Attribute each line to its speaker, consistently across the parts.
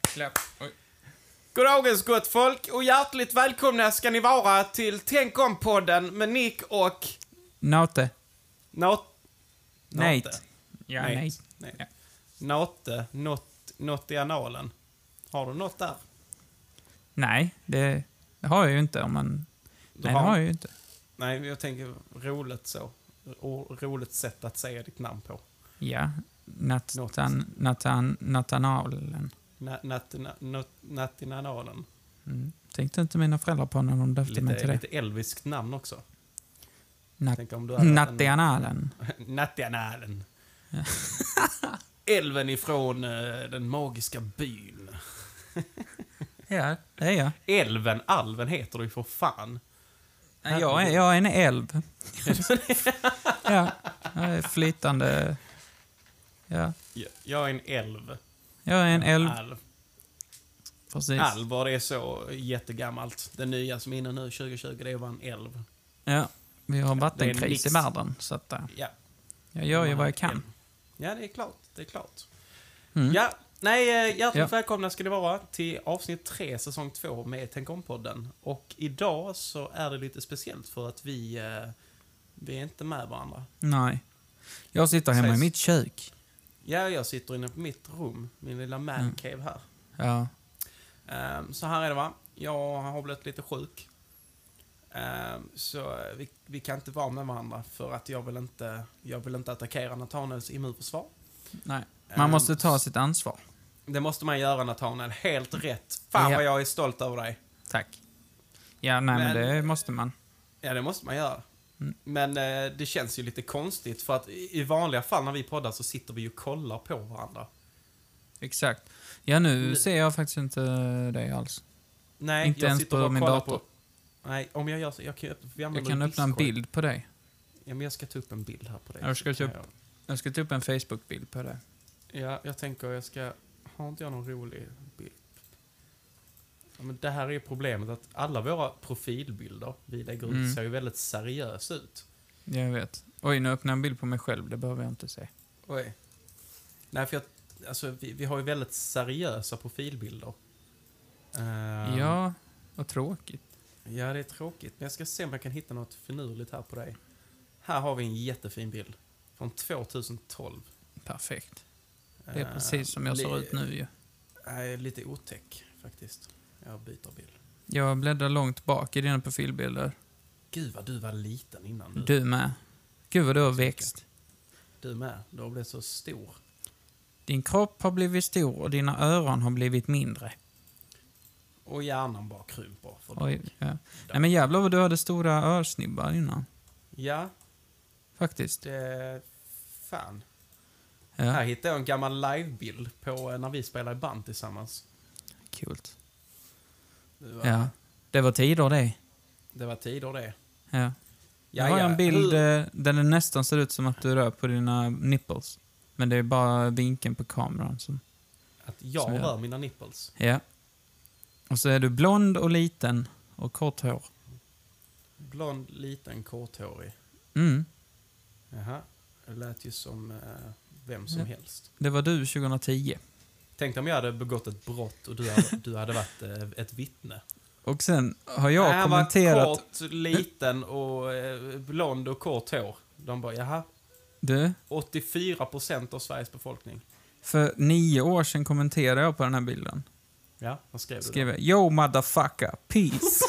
Speaker 1: Klapp. Oj.
Speaker 2: Goddagens gott folk och hjärtligt välkomna ska ni vara till Tänk om-podden med Nick och...
Speaker 1: Nate.
Speaker 2: Nat...
Speaker 1: Nate. Ja,
Speaker 2: Nate.
Speaker 1: nej.
Speaker 2: Nej.
Speaker 1: Ja.
Speaker 2: Nate. Något, något i analen. Har du något där?
Speaker 1: Nej, det, det har jag ju inte om man... Nej, det
Speaker 2: har-
Speaker 1: har jag ju inte.
Speaker 2: Nej, jag tänker roligt så. O- roligt sätt att säga ditt namn på.
Speaker 1: Ja.
Speaker 2: Något.
Speaker 1: Nathan... Nathan... Nathanalen.
Speaker 2: Na- nat- na- nat- Nattinanalen.
Speaker 1: Mm. Tänkte inte mina föräldrar på när de döpte mig till
Speaker 2: Lite,
Speaker 1: det.
Speaker 2: lite elviskt namn också.
Speaker 1: Nat,
Speaker 2: Tänk om du hade haft en-
Speaker 1: Nathanalen.
Speaker 2: Nattianalen. Älven ifrån eh, den magiska byn.
Speaker 1: Ja, det är jag.
Speaker 2: Älven, alven heter du ju för fan.
Speaker 1: Nej, Jag är, jag är en älv. ja, jag är flytande... Ja,
Speaker 2: Jag- Jag är en älv.
Speaker 1: jag är en älv.
Speaker 2: Alv.
Speaker 1: Precis.
Speaker 2: Alvar är så jättegammalt. Det nya som är inne nu 2020, det var en älv.
Speaker 1: Ja, vi har
Speaker 2: Det är en
Speaker 1: vattenkris
Speaker 2: mix.
Speaker 1: i världen, så att, eh,
Speaker 2: Ja.
Speaker 1: jag gör ju vad jag kan.
Speaker 2: Ja, det är klart. Det är klart.
Speaker 1: Mm.
Speaker 2: Ja, nej, eh, hjärtligt
Speaker 1: Ja.
Speaker 2: välkomna ska ni vara till avsnitt 3, säsong 2 med Tänk om-podden. Och idag så är det lite speciellt för att vi, eh, vi är inte med varandra.
Speaker 1: Nej. Jag sitter hemma
Speaker 2: Precis.
Speaker 1: i mitt kök.
Speaker 2: Ja, jag sitter inne på mitt rum, min lilla
Speaker 1: Mm.
Speaker 2: mancave här.
Speaker 1: Ja.
Speaker 2: Ehm, Så här är det va. Jag har blivit lite sjuk. Ehm, Så vi, vi kan inte vara med varandra för att jag vill inte, jag vill inte attackera Nathaniels immunförsvar.
Speaker 1: Nej.
Speaker 2: Ehm,
Speaker 1: Man måste ta sitt ansvar.
Speaker 2: Det måste man göra Nathaniel, helt rätt. Fan
Speaker 1: Ja.
Speaker 2: vad jag är stolt över dig.
Speaker 1: Tack. Ja, nej men,
Speaker 2: Men-
Speaker 1: det måste man.
Speaker 2: Ja, det måste man göra.
Speaker 1: Mm.
Speaker 2: Men eh, det känns ju lite konstigt för att i i vanliga fall när vi poddar så sitter vi ju och kollar på varandra.
Speaker 1: Exakt. Ja, nu
Speaker 2: Nu-
Speaker 1: ser jag faktiskt inte dig alls.
Speaker 2: Mm. Nej,
Speaker 1: Inte
Speaker 2: jag
Speaker 1: ens
Speaker 2: sitter
Speaker 1: på
Speaker 2: och
Speaker 1: min
Speaker 2: kollar
Speaker 1: dator.
Speaker 2: Nej, om jag gör så, jag kan ju öppna, vi
Speaker 1: Jag
Speaker 2: använder
Speaker 1: kan öppna en
Speaker 2: Discord.
Speaker 1: bild på dig.
Speaker 2: Ja, men jag ska ta upp en bild här på dig.
Speaker 1: Jag ska
Speaker 2: så kan
Speaker 1: ta upp- Jag ska ta upp en Facebook-bild på dig.
Speaker 2: Ja, jag tänker jag ska... Har inte jag någon rolig bild? Ja, men det här är ju problemet att alla våra profilbilder vi lägger ut
Speaker 1: Mm.
Speaker 2: ser ju väldigt seriösa ut.
Speaker 1: Jag vet. Oj, nu öppnar jag en bild på mig själv. Det behöver jag inte se.
Speaker 2: Oj. Nej, för jag, alltså, vi, vi har ju väldigt seriösa profilbilder. Ehm,
Speaker 1: Ja, vad tråkigt.
Speaker 2: Ja, det är tråkigt. Men jag ska se om jag kan hitta något finurligt här på dig. Här har vi en jättefin bild. Från 2012.
Speaker 1: Perfekt. Det är
Speaker 2: Ehm,
Speaker 1: precis som jag ser
Speaker 2: li-
Speaker 1: ut nu ju.
Speaker 2: Nej, lite otäck faktiskt. Jag byter bild.
Speaker 1: Jag bläddrar långt bak i dina profilbilder.
Speaker 2: Gud vad du var liten innan nu.
Speaker 1: Du med. Gud vad du har växt.
Speaker 2: Du med. Du har blivit så stor.
Speaker 1: Din kropp har blivit stor och dina öron har blivit mindre.
Speaker 2: Och hjärnan bara krymper. För
Speaker 1: Oj, ja. Nej men jävlar vad du hade stora örsnibbar innan.
Speaker 2: Ja,
Speaker 1: Faktiskt.
Speaker 2: det... Fan.
Speaker 1: Ja,
Speaker 2: Här hittade jag en gammal livebild på eh, när vi spelade i band tillsammans.
Speaker 1: kul.
Speaker 2: Det var,
Speaker 1: Ja. Det var tider det.
Speaker 2: det var tider det.
Speaker 1: Ja. Jag
Speaker 2: Ja,
Speaker 1: har
Speaker 2: ja.
Speaker 1: en bild
Speaker 2: Hur-
Speaker 1: eh, där det nästan ser ut som att du rör på dina nipples. Men det är bara vinkeln på kameran som...
Speaker 2: Att jag
Speaker 1: som jag-
Speaker 2: rör mina nipples.
Speaker 1: Ja. Och så är du blond och liten och kort hår.
Speaker 2: Blond, liten, korthårig.
Speaker 1: Mm.
Speaker 2: Jaha. Det lät ju som eh, vem som
Speaker 1: Ja.
Speaker 2: helst.
Speaker 1: Det var du 2010.
Speaker 2: Tänk om jag hade begått ett brott och du hade, du hade varit eh, ett vittne.
Speaker 1: Och sen har jag
Speaker 2: Nej, han
Speaker 1: kommenterat...
Speaker 2: var kort, liten och eh, blond och kort hår. De bara, jaha.
Speaker 1: Du,
Speaker 2: 84% av Sveriges befolkning.
Speaker 1: för nio år sedan kommenterade jag på den här bilden.
Speaker 2: Ja, vad skrev du?
Speaker 1: Skrev jag “Yo motherfucker, peace”.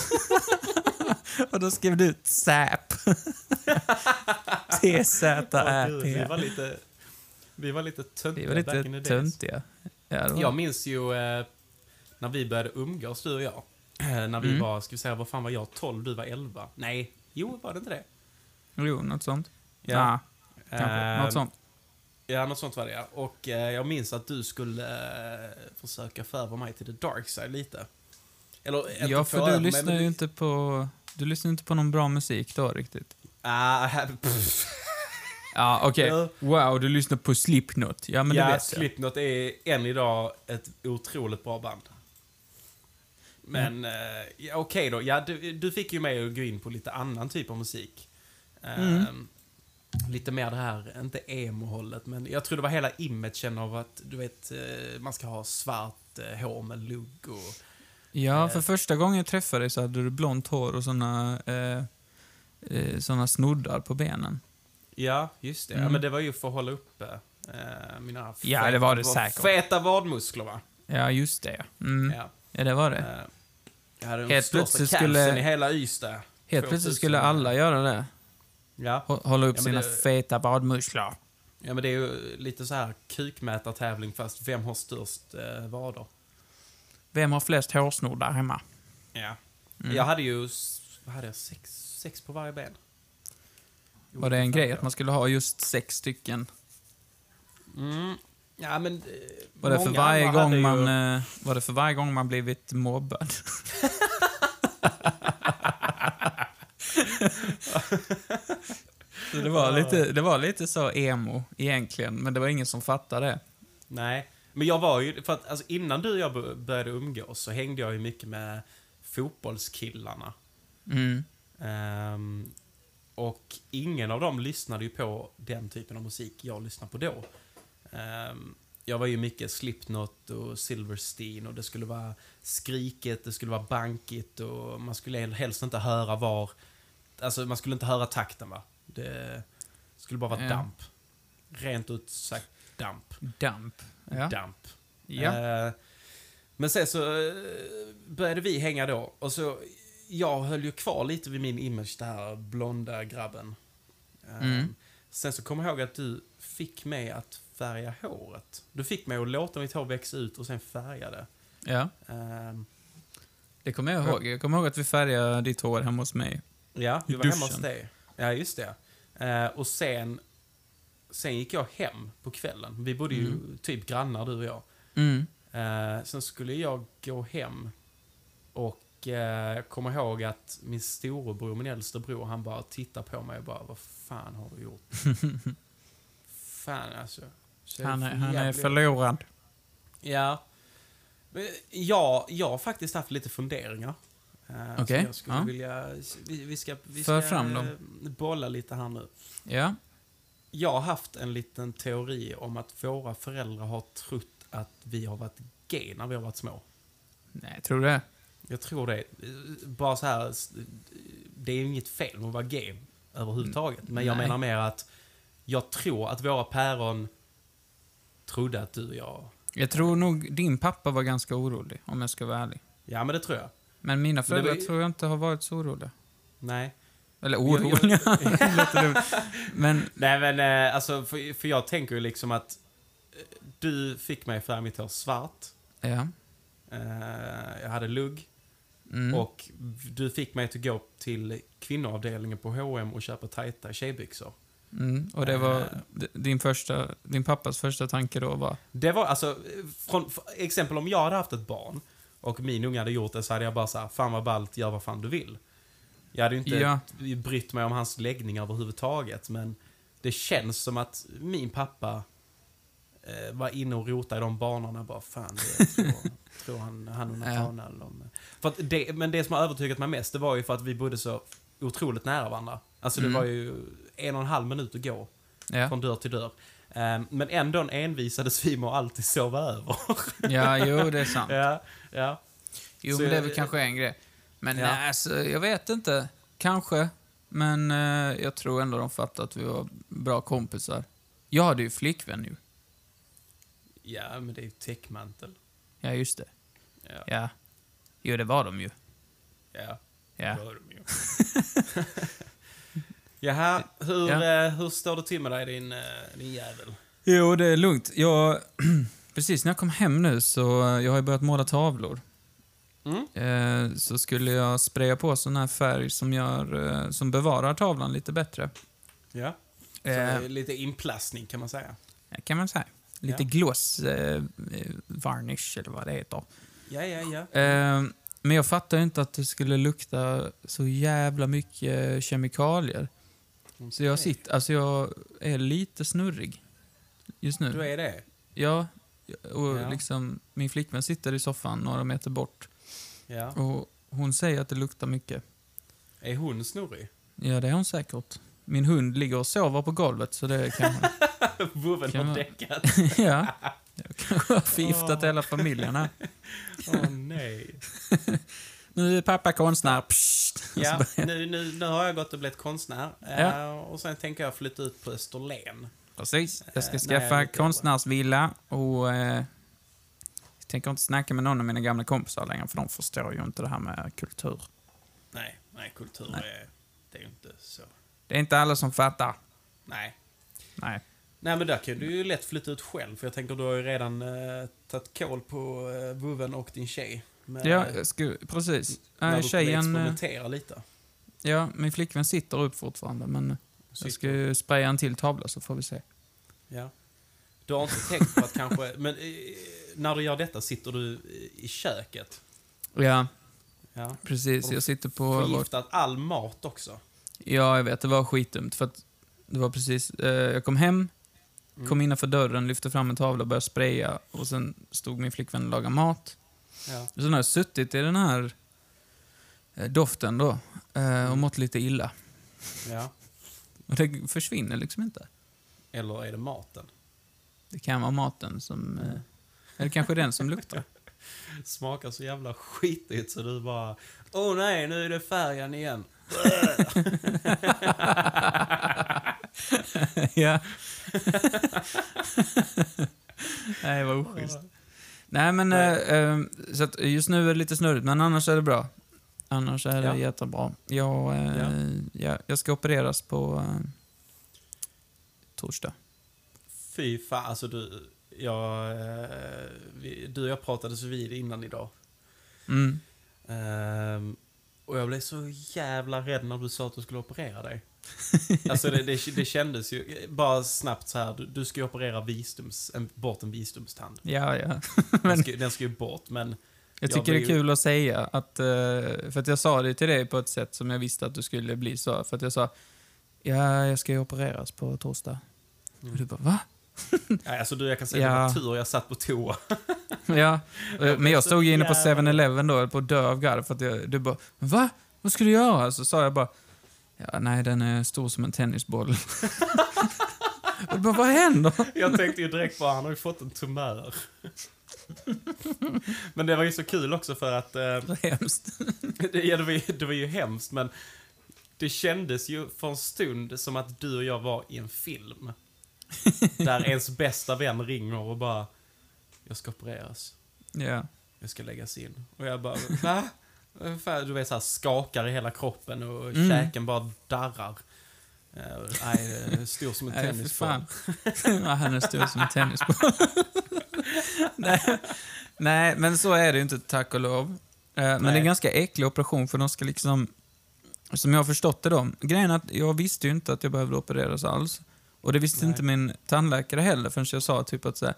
Speaker 1: och då skrev du “Zap”.
Speaker 2: då? Åh, gud, vi
Speaker 1: T-Z-A-P.
Speaker 2: var lite... Vi var lite
Speaker 1: Vi
Speaker 2: töntiga
Speaker 1: var
Speaker 2: back in the
Speaker 1: lite
Speaker 2: days.
Speaker 1: töntiga. Ja, det var...
Speaker 2: Jag minns ju eh, när vi började umgås, du och jag. Eh, när vi
Speaker 1: Mm.
Speaker 2: var, ska vi säga, vad fan var jag? 12, du var 11? Nej, jo, var det inte det?
Speaker 1: Jo, något sånt. Ja,
Speaker 2: Ja.
Speaker 1: kanske.
Speaker 2: Eh,
Speaker 1: Något sånt.
Speaker 2: Ja, något sånt var det ja. Och eh, jag minns att du skulle eh, försöka få över mig till the dark side lite. Eller, inte
Speaker 1: Ja, för
Speaker 2: få över
Speaker 1: du
Speaker 2: mig,
Speaker 1: lyssnar
Speaker 2: men
Speaker 1: ju inte på... Du lyssnar inte på någon bra musik då riktigt.
Speaker 2: Ah, pff.
Speaker 1: Ja, okej.
Speaker 2: Ja.
Speaker 1: Wow, du lyssnar på Slipknot. Ja, men det
Speaker 2: ja,
Speaker 1: vet jag.
Speaker 2: Slipknot är än idag ett otroligt bra band. Men
Speaker 1: Mm.
Speaker 2: eh, ja,
Speaker 1: Mm.
Speaker 2: okej då, ja, du, du fick ju mig att gå in på lite annan typ av musik. Ehm, lite mer det här, inte emo-hållet, men jag tror det var hela imagen av att, du vet, eh, man ska ha svart eh, hår med lugg och...
Speaker 1: Ja, för
Speaker 2: Eh.
Speaker 1: första gången jag träffade dig så hade du blont hår och såna, eh, eh, såna snoddar på benen.
Speaker 2: Ja, just det. Ja,
Speaker 1: Mm.
Speaker 2: men det var ju för att hålla uppe eh, mina feta,
Speaker 1: Ja, det var det säkert.
Speaker 2: feta vadmuskler, va?
Speaker 1: Ja, just det ja. Mm.
Speaker 2: Ja.
Speaker 1: Ja, det var det.
Speaker 2: Eh, jag hade den
Speaker 1: Helt
Speaker 2: största
Speaker 1: plötsligt
Speaker 2: skulle...
Speaker 1: skulle-
Speaker 2: i hela Ystad.
Speaker 1: Helt plötsligt
Speaker 2: 2000.
Speaker 1: skulle alla göra det.
Speaker 2: Ja.
Speaker 1: Hå- Hålla upp
Speaker 2: Ja, men
Speaker 1: sina
Speaker 2: det-
Speaker 1: feta badmuskler.
Speaker 2: ja, men det är ju lite så här kukmätartävling fast vem har störst eh, vader?
Speaker 1: Vem har flest hårsnoddar hemma?
Speaker 2: Ja.
Speaker 1: Mm.
Speaker 2: Jag hade ju, s- vad hade jag, sex, sex på varje ben.
Speaker 1: Var det en grej att
Speaker 2: man...
Speaker 1: man skulle ha just sex stycken?
Speaker 2: Mm. Ja, men... eh,
Speaker 1: Var det, för
Speaker 2: många
Speaker 1: varje
Speaker 2: andra hade
Speaker 1: gång man,
Speaker 2: ju-
Speaker 1: eh, var det för varje gång man blivit mobbad? så det, var lite, det var lite så emo egentligen, men det var ingen som fattade det.
Speaker 2: Nej, men jag var ju, för att alltså, innan du och jag bo- började umgås så hängde jag ju mycket med fotbollskillarna.
Speaker 1: Mm.
Speaker 2: Ehm, och ingen av dem lyssnade ju på den typen av musik jag lyssnade på då. Ehm, jag var ju mycket Slipknot och Silverstein och det skulle vara skriket, det skulle vara bankigt och man skulle hel- helst inte höra var... Alltså man skulle inte höra takten va? Det skulle bara vara
Speaker 1: Ja.
Speaker 2: damp. Rent ut sagt damp.
Speaker 1: Damp. Ja.
Speaker 2: Damp.
Speaker 1: ja.
Speaker 2: Eh, Men sen så eh, började vi hänga då och så jag höll ju kvar lite vid min image, den här blonda grabben. Eh,
Speaker 1: Mm.
Speaker 2: Sen så kommer jag ihåg att du fick mig att färga håret. Du fick mig att låta mitt hår växa ut och sen färga det.
Speaker 1: ja,
Speaker 2: Eh,
Speaker 1: det kommer jag ihåg. Jag kommer ihåg att vi färgade ditt hår hemma hos mig.
Speaker 2: Ja,
Speaker 1: I
Speaker 2: vi var hemma
Speaker 1: duschen.
Speaker 2: hos dig. Ja, just det. Eh, Och sen, sen gick jag hem på kvällen. Vi bodde ju typ grannar du och jag.
Speaker 1: Mm.
Speaker 2: Eh, sen skulle jag gå hem och eh, jag kommer ihåg att min storebror, min äldste bror, han bara tittar på mig och bara vad fan har du gjort? fan alltså. Så jag
Speaker 1: Han, är, han är
Speaker 2: jävligt-
Speaker 1: förlorad.
Speaker 2: Ja. Men Jag, jag har faktiskt haft lite funderingar. Eh, som
Speaker 1: Okej,
Speaker 2: Jag skulle
Speaker 1: ja.
Speaker 2: vilja, vi, vi ska, vi
Speaker 1: För
Speaker 2: ska
Speaker 1: fram dem.
Speaker 2: eh, bolla lite här nu.
Speaker 1: Ja.
Speaker 2: Jag har haft en liten teori om att våra föräldrar har trott att vi har varit gay när vi har varit små.
Speaker 1: Nej, jag tror det.
Speaker 2: Jag tror det. Bara så här, det är ju inget fel med att vara gay överhuvudtaget. Men jag
Speaker 1: Nej.
Speaker 2: menar mer att jag tror att våra päron trodde att du och jag...
Speaker 1: Jag tror nog din pappa var ganska orolig, om jag ska vara ärlig.
Speaker 2: Ja, men det tror jag.
Speaker 1: Men mina
Speaker 2: det var
Speaker 1: föräldrar
Speaker 2: ju-
Speaker 1: tror jag inte har varit så oroliga.
Speaker 2: Nej.
Speaker 1: Eller
Speaker 2: Jag- jag-
Speaker 1: oroliga, det låter dumt. Men,
Speaker 2: Nej, men eh, alltså, för, för jag tänker ju liksom att eh, du fick mig färga mitt hår svart.
Speaker 1: ja.
Speaker 2: Eh, Jag hade lugg.
Speaker 1: Mm.
Speaker 2: Och du fick mig att gå till kvinnoavdelningen på H&M och köpa tajta tjejbyxor.
Speaker 1: Mm. och det
Speaker 2: Eh.
Speaker 1: var d- din, första, din pappas första tanke då var...
Speaker 2: Det var alltså, från, för exempel om jag hade haft ett barn och min unge hade gjort det så hade jag bara såhär, fan vad ballt, gör vad fan du vill. Jag hade ju inte
Speaker 1: Ja.
Speaker 2: brytt mig om hans läggning överhuvudtaget men det känns som att min pappa eh, var inne och rotade i de banorna bara, fan det jag tror, tror han, han och
Speaker 1: Ja.
Speaker 2: Nathanael de... För att det, men det som har övertygat mig mest det var ju för att vi bodde så otroligt nära varandra. Alltså det
Speaker 1: Mm.
Speaker 2: var ju en och en halv minut att gå
Speaker 1: Ja,
Speaker 2: från dörr till dörr. Ehm, Men ändå en envisade svimmer alltid sova över.
Speaker 1: ja jo, det är sant.
Speaker 2: ja, ja.
Speaker 1: Jo,
Speaker 2: Så
Speaker 1: men det är
Speaker 2: jag-
Speaker 1: väl kanske en grej. Men
Speaker 2: Ja.
Speaker 1: nej, alltså, jag vet inte. Kanske. Men eh, jag tror ändå de fattade att vi var bra kompisar. Jag hade ju flickvän nu.
Speaker 2: ja, men det är ju täckmantel.
Speaker 1: Ja, just det.
Speaker 2: Ja,
Speaker 1: Ja. Jo, det var de ju.
Speaker 2: ja.
Speaker 1: Ja.
Speaker 2: det hör de ju. Jaha, hur,
Speaker 1: Ja.
Speaker 2: eh, hur står det till med dig din, eh, din jävel?
Speaker 1: Jo, det är lugnt. Jag, precis när jag kom hem nu så eh, jag har ju börjat måla tavlor.
Speaker 2: Mm?
Speaker 1: Eh, så skulle jag spraya på sån här färg som, gör, eh, som bevarar tavlan lite bättre.
Speaker 2: Ja. Så det
Speaker 1: Eh,
Speaker 2: är lite inplastning kan man säga.
Speaker 1: kan man säga. Lite
Speaker 2: Ja.
Speaker 1: gloss, eh, eh, varnish eller vad det heter.
Speaker 2: Ja, ja, ja.
Speaker 1: Eh, men jag fattar ju inte att det skulle lukta så jävla mycket kemikalier. Så jag
Speaker 2: Okej.
Speaker 1: sitter, alltså jag är lite snurrig just nu.
Speaker 2: Du är det?
Speaker 1: Ja, och
Speaker 2: Ja.
Speaker 1: liksom min flickvän sitter i soffan några meter bort
Speaker 2: Ja.
Speaker 1: och hon säger att det luktar mycket.
Speaker 2: Är hon snurrig?
Speaker 1: Ja, det är hon säkert. Min hund ligger och sover på golvet, så det kan man...
Speaker 2: Vovven
Speaker 1: Kan
Speaker 2: har
Speaker 1: man-
Speaker 2: däckat.
Speaker 1: ja. Jag kanske har förgiftat hela familjen här.
Speaker 2: Åh nej.
Speaker 1: Nu är pappa konstnär. Psst.
Speaker 2: Ja, nu, nu, nu har jag gått och blivit konstnär. Eh,
Speaker 1: Ja.
Speaker 2: och sen tänker jag flytta ut på Österlen.
Speaker 1: Precis. Jag ska
Speaker 2: Eh,
Speaker 1: skaffa
Speaker 2: nej, lite
Speaker 1: konstnärsvilla och... Eh, jag tänker inte snacka med någon av mina gamla kompisar längre, för de förstår ju inte det här med kultur.
Speaker 2: Nej, nej, kultur Är, det är ju inte så.
Speaker 1: Det är inte alla som fattar.
Speaker 2: Nej.
Speaker 1: Nej.
Speaker 2: Nej, men där kan du ju lätt flytta ut själv. För jag tänker, du har ju redan eh, tagit koll på eh, vovven och din tjej. Med,
Speaker 1: Ja, jag skulle, precis.
Speaker 2: Eh, när
Speaker 1: Äh,
Speaker 2: du tjejen...
Speaker 1: tjejen... eh,
Speaker 2: experimentera lite.
Speaker 1: Ja, min flickvän sitter upp fortfarande, men jag ska ju spraya en till tavla så får vi se.
Speaker 2: Ja. Du har inte tänkt på att kanske... Men eh, när du gör detta sitter du eh, i köket.
Speaker 1: Ja,
Speaker 2: Ja.
Speaker 1: precis. Jag sitter på...
Speaker 2: Förgiftat all mat också.
Speaker 1: Ja, jag vet. Det var skitdumt. För att det var precis... Eh, jag kom hem,
Speaker 2: Mm.
Speaker 1: kom innanför dörren, lyfte fram en tavla och började spraya. Och sen stod min flickvän och lagade mat.
Speaker 2: Ja.
Speaker 1: Sen har jag suttit i den här eh, doften då eh,
Speaker 2: Mm.
Speaker 1: och mått lite illa.
Speaker 2: ja.
Speaker 1: Och det försvinner liksom inte.
Speaker 2: Eller är det maten?
Speaker 1: Det kan vara maten som... Eh, eller kanske den som luktar.
Speaker 2: Smakar så jävla skitigt så du bara... Åh oh, nej, nu är det färgen igen.
Speaker 1: ja. Nej, vad oschysst. Nej, men eh, eh, så att just nu är det lite snurrigt, men annars är det bra. Annars är det
Speaker 2: Ja.
Speaker 1: jättebra. Jag, eh,
Speaker 2: Ja.
Speaker 1: Jag, jag ska opereras på eh, torsdag.
Speaker 2: Fy fan, alltså du... Jag, eh, vi, du och jag pratades vid innan idag.
Speaker 1: Mm.
Speaker 2: Ehm, och jag blev så jävla rädd när du sa att du skulle operera dig. Alltså det, det, det kändes ju, bara snabbt så här, du, du ska ju operera visdoms, en, bort en visdomstand.
Speaker 1: Ja, ja.
Speaker 2: Den ska, ju- den ska ju bort, men
Speaker 1: Jag
Speaker 2: Jag
Speaker 1: tycker det
Speaker 2: blir
Speaker 1: är
Speaker 2: ju-
Speaker 1: kul att säga att, eh, för att jag sa det till dig på ett sätt som jag visste att du skulle bli så. För att jag sa, ja, jag ska ju opereras på torsdag. Och du bara, va?
Speaker 2: nej, alltså du, jag kan säga
Speaker 1: Ja.
Speaker 2: att det var tur jag satt på toa.
Speaker 1: Ja, eh, men jag
Speaker 2: Så
Speaker 1: stod ju inne på
Speaker 2: jävla-
Speaker 1: 7-Eleven då, höll på att dö av garv, för att jag, du bara Va? Vad ska du göra? Så sa jag bara Ja, nej, den är stor som en tennisboll. och du bara, vad händer?
Speaker 2: Jag tänkte ju direkt bara, han har ju fått en tumör. Men det var ju så kul också för att, eh,
Speaker 1: Vad hemskt.
Speaker 2: det, ja, det, var ju, det var ju hemskt men det kändes ju för en stund som att du och jag var i en film. Där ens bästa vän ringer och bara, jag ska opereras,
Speaker 1: Ja,
Speaker 2: jag ska läggas in. Och jag bara, va? Vad fan?" Du vet såhär, skakar i hela kroppen och
Speaker 1: Mm.
Speaker 2: käken bara darrar. Eh, Nej, det är stor som en
Speaker 1: nej, fy
Speaker 2: tennisboll.
Speaker 1: fan. ja, han är stor som en tennisboll. nej, nej, men så är det ju inte, tack och lov. Eh, Men det är
Speaker 2: Nej.
Speaker 1: en ganska äcklig operation, för de ska liksom... Som jag har förstått det då. Grejen är att jag visste ju inte att jag behövde opereras alls. Och det visste
Speaker 2: Nej.
Speaker 1: inte min tandläkare heller förrän jag sa typ att så här,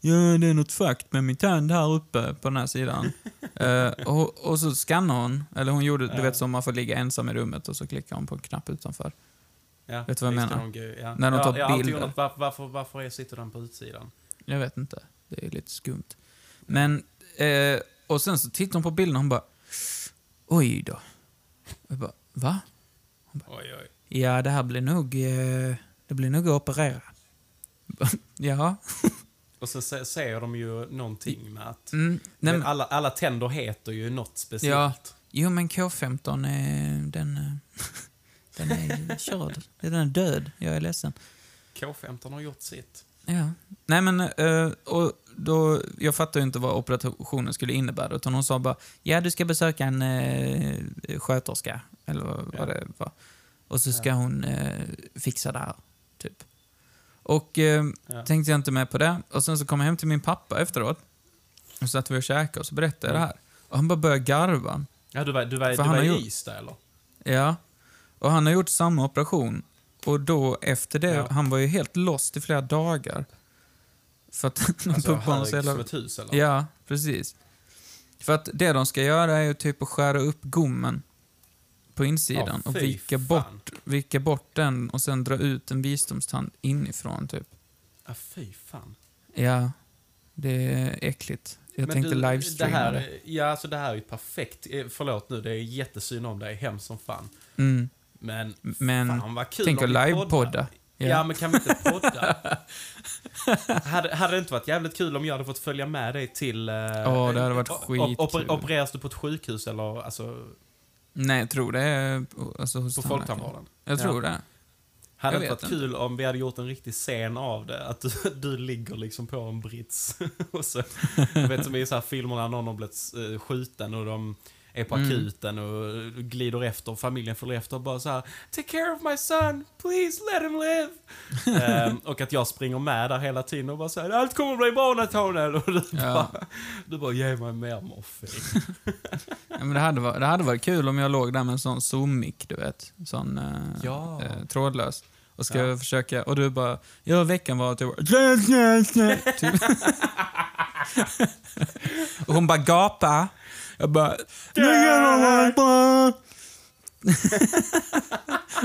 Speaker 1: Ja, det är något fakt med min tand här uppe på den här sidan. Eh, och, och så skannade hon, eller hon gjorde, du
Speaker 2: Ja.
Speaker 1: vet som man får ligga ensam i rummet och så klickar hon på en knapp utanför.
Speaker 2: Ja,
Speaker 1: Vet du vad jag
Speaker 2: visst är
Speaker 1: menar?
Speaker 2: de gö- ja.
Speaker 1: När de
Speaker 2: Ja,
Speaker 1: tar
Speaker 2: jag har alltid
Speaker 1: bilder.
Speaker 2: undrat, varför, varför, varför är- sitter den på utsidan?
Speaker 1: Jag vet inte, det är lite skumt. Men, eh, och sen så tittar hon på bilden och hon bara, oj då. Jag bara, va?
Speaker 2: Oj, oj.
Speaker 1: Ja, det här blir nog, eh, det blir nog att operera. Jaha.
Speaker 2: Och sen sä- säger de ju någonting med att
Speaker 1: Mm, nej, men-
Speaker 2: alla, alla tänder heter ju något speciellt.
Speaker 1: Ja. Jo, men K15, eh, den, eh, den är körd. Den är död. Jag är ledsen.
Speaker 2: K15 har gjort sitt.
Speaker 1: Ja. Nej, men eh, och då, jag fattar ju inte vad operationen skulle innebära. Utan hon sa bara, ja du ska besöka en eh, sköterska. Eller vad,
Speaker 2: Ja.
Speaker 1: vad det var. Och så ska hon eh, fixa det här. Typ. Och eh,
Speaker 2: Ja.
Speaker 1: tänkte jag inte mer på det. Och sen så kom jag hem till min pappa efteråt. Och satt vi och käkade och så berättade
Speaker 2: Mm.
Speaker 1: jag det här. Och han bara började garva.
Speaker 2: Ja, du var, du var, du
Speaker 1: För han
Speaker 2: var
Speaker 1: har
Speaker 2: i
Speaker 1: gjort-
Speaker 2: Ystad eller?
Speaker 1: Ja. Och han har gjort samma operation. Och då efter det,
Speaker 2: Ja.
Speaker 1: han var ju helt lost i flera dagar. För att de
Speaker 2: Alltså,
Speaker 1: pumpade honom så
Speaker 2: hög som
Speaker 1: jävla...
Speaker 2: ett hus eller?
Speaker 1: Ja, precis. För att det de ska göra är ju typ att skära upp gommen på insidan
Speaker 2: Ja,
Speaker 1: och
Speaker 2: fy
Speaker 1: vika
Speaker 2: fan.
Speaker 1: bort, vika bort den och sen dra ut en visdomstand inifrån typ.
Speaker 2: Ja, fy fan.
Speaker 1: Ja, det är äckligt. Jag
Speaker 2: Men
Speaker 1: tänkte
Speaker 2: du,
Speaker 1: livestreama det.
Speaker 2: det. Här, ja, alltså det här är ju perfekt. Eh, Förlåt nu, det är jättesynd om dig. Hemskt som fan.
Speaker 1: Mm.
Speaker 2: Men,
Speaker 1: Men
Speaker 2: fan vad kul
Speaker 1: tänk
Speaker 2: om
Speaker 1: att
Speaker 2: vi poddar.
Speaker 1: livepodda.
Speaker 2: Ja.
Speaker 1: Ja.
Speaker 2: men kan vi inte podda? hade, hade det inte varit jävligt kul om jag hade fått följa med dig till... eh,
Speaker 1: Ja, det hade varit
Speaker 2: o- o-
Speaker 1: skitkul.
Speaker 2: opereras du på ett sjukhus eller alltså,
Speaker 1: Nej, jag tror det är alltså, hos
Speaker 2: på
Speaker 1: tandläkaren.
Speaker 2: folktandvården?
Speaker 1: Jag
Speaker 2: Ja.
Speaker 1: tror det.
Speaker 2: Hade
Speaker 1: Jag
Speaker 2: det inte
Speaker 1: vet
Speaker 2: varit kul om vi hade gjort en riktig scen av det? Att du, du ligger liksom på en brits. och så, du vet som i så här filmerna när någon har blivit eh, skjuten och de är på
Speaker 1: Mm.
Speaker 2: akuten och glider efter, familjen följer efter och bara så här Take care of my son, please let him live. Ehm, och att jag springer med där hela tiden och bara säger allt kommer bli bra Nathaniel. Och du
Speaker 1: Ja.
Speaker 2: bara, du bara ge mig mer morfin.
Speaker 1: Ja, men det, hade varit, det hade varit kul om jag låg där med en sån zoom-mick, du vet. Sån eh,
Speaker 2: Ja.
Speaker 1: eh, trådlös. Och ska
Speaker 2: Ja.
Speaker 1: jag försöka, och du bara, ja veckan var att jag var... typ. och hon bara gapa. Jag bara...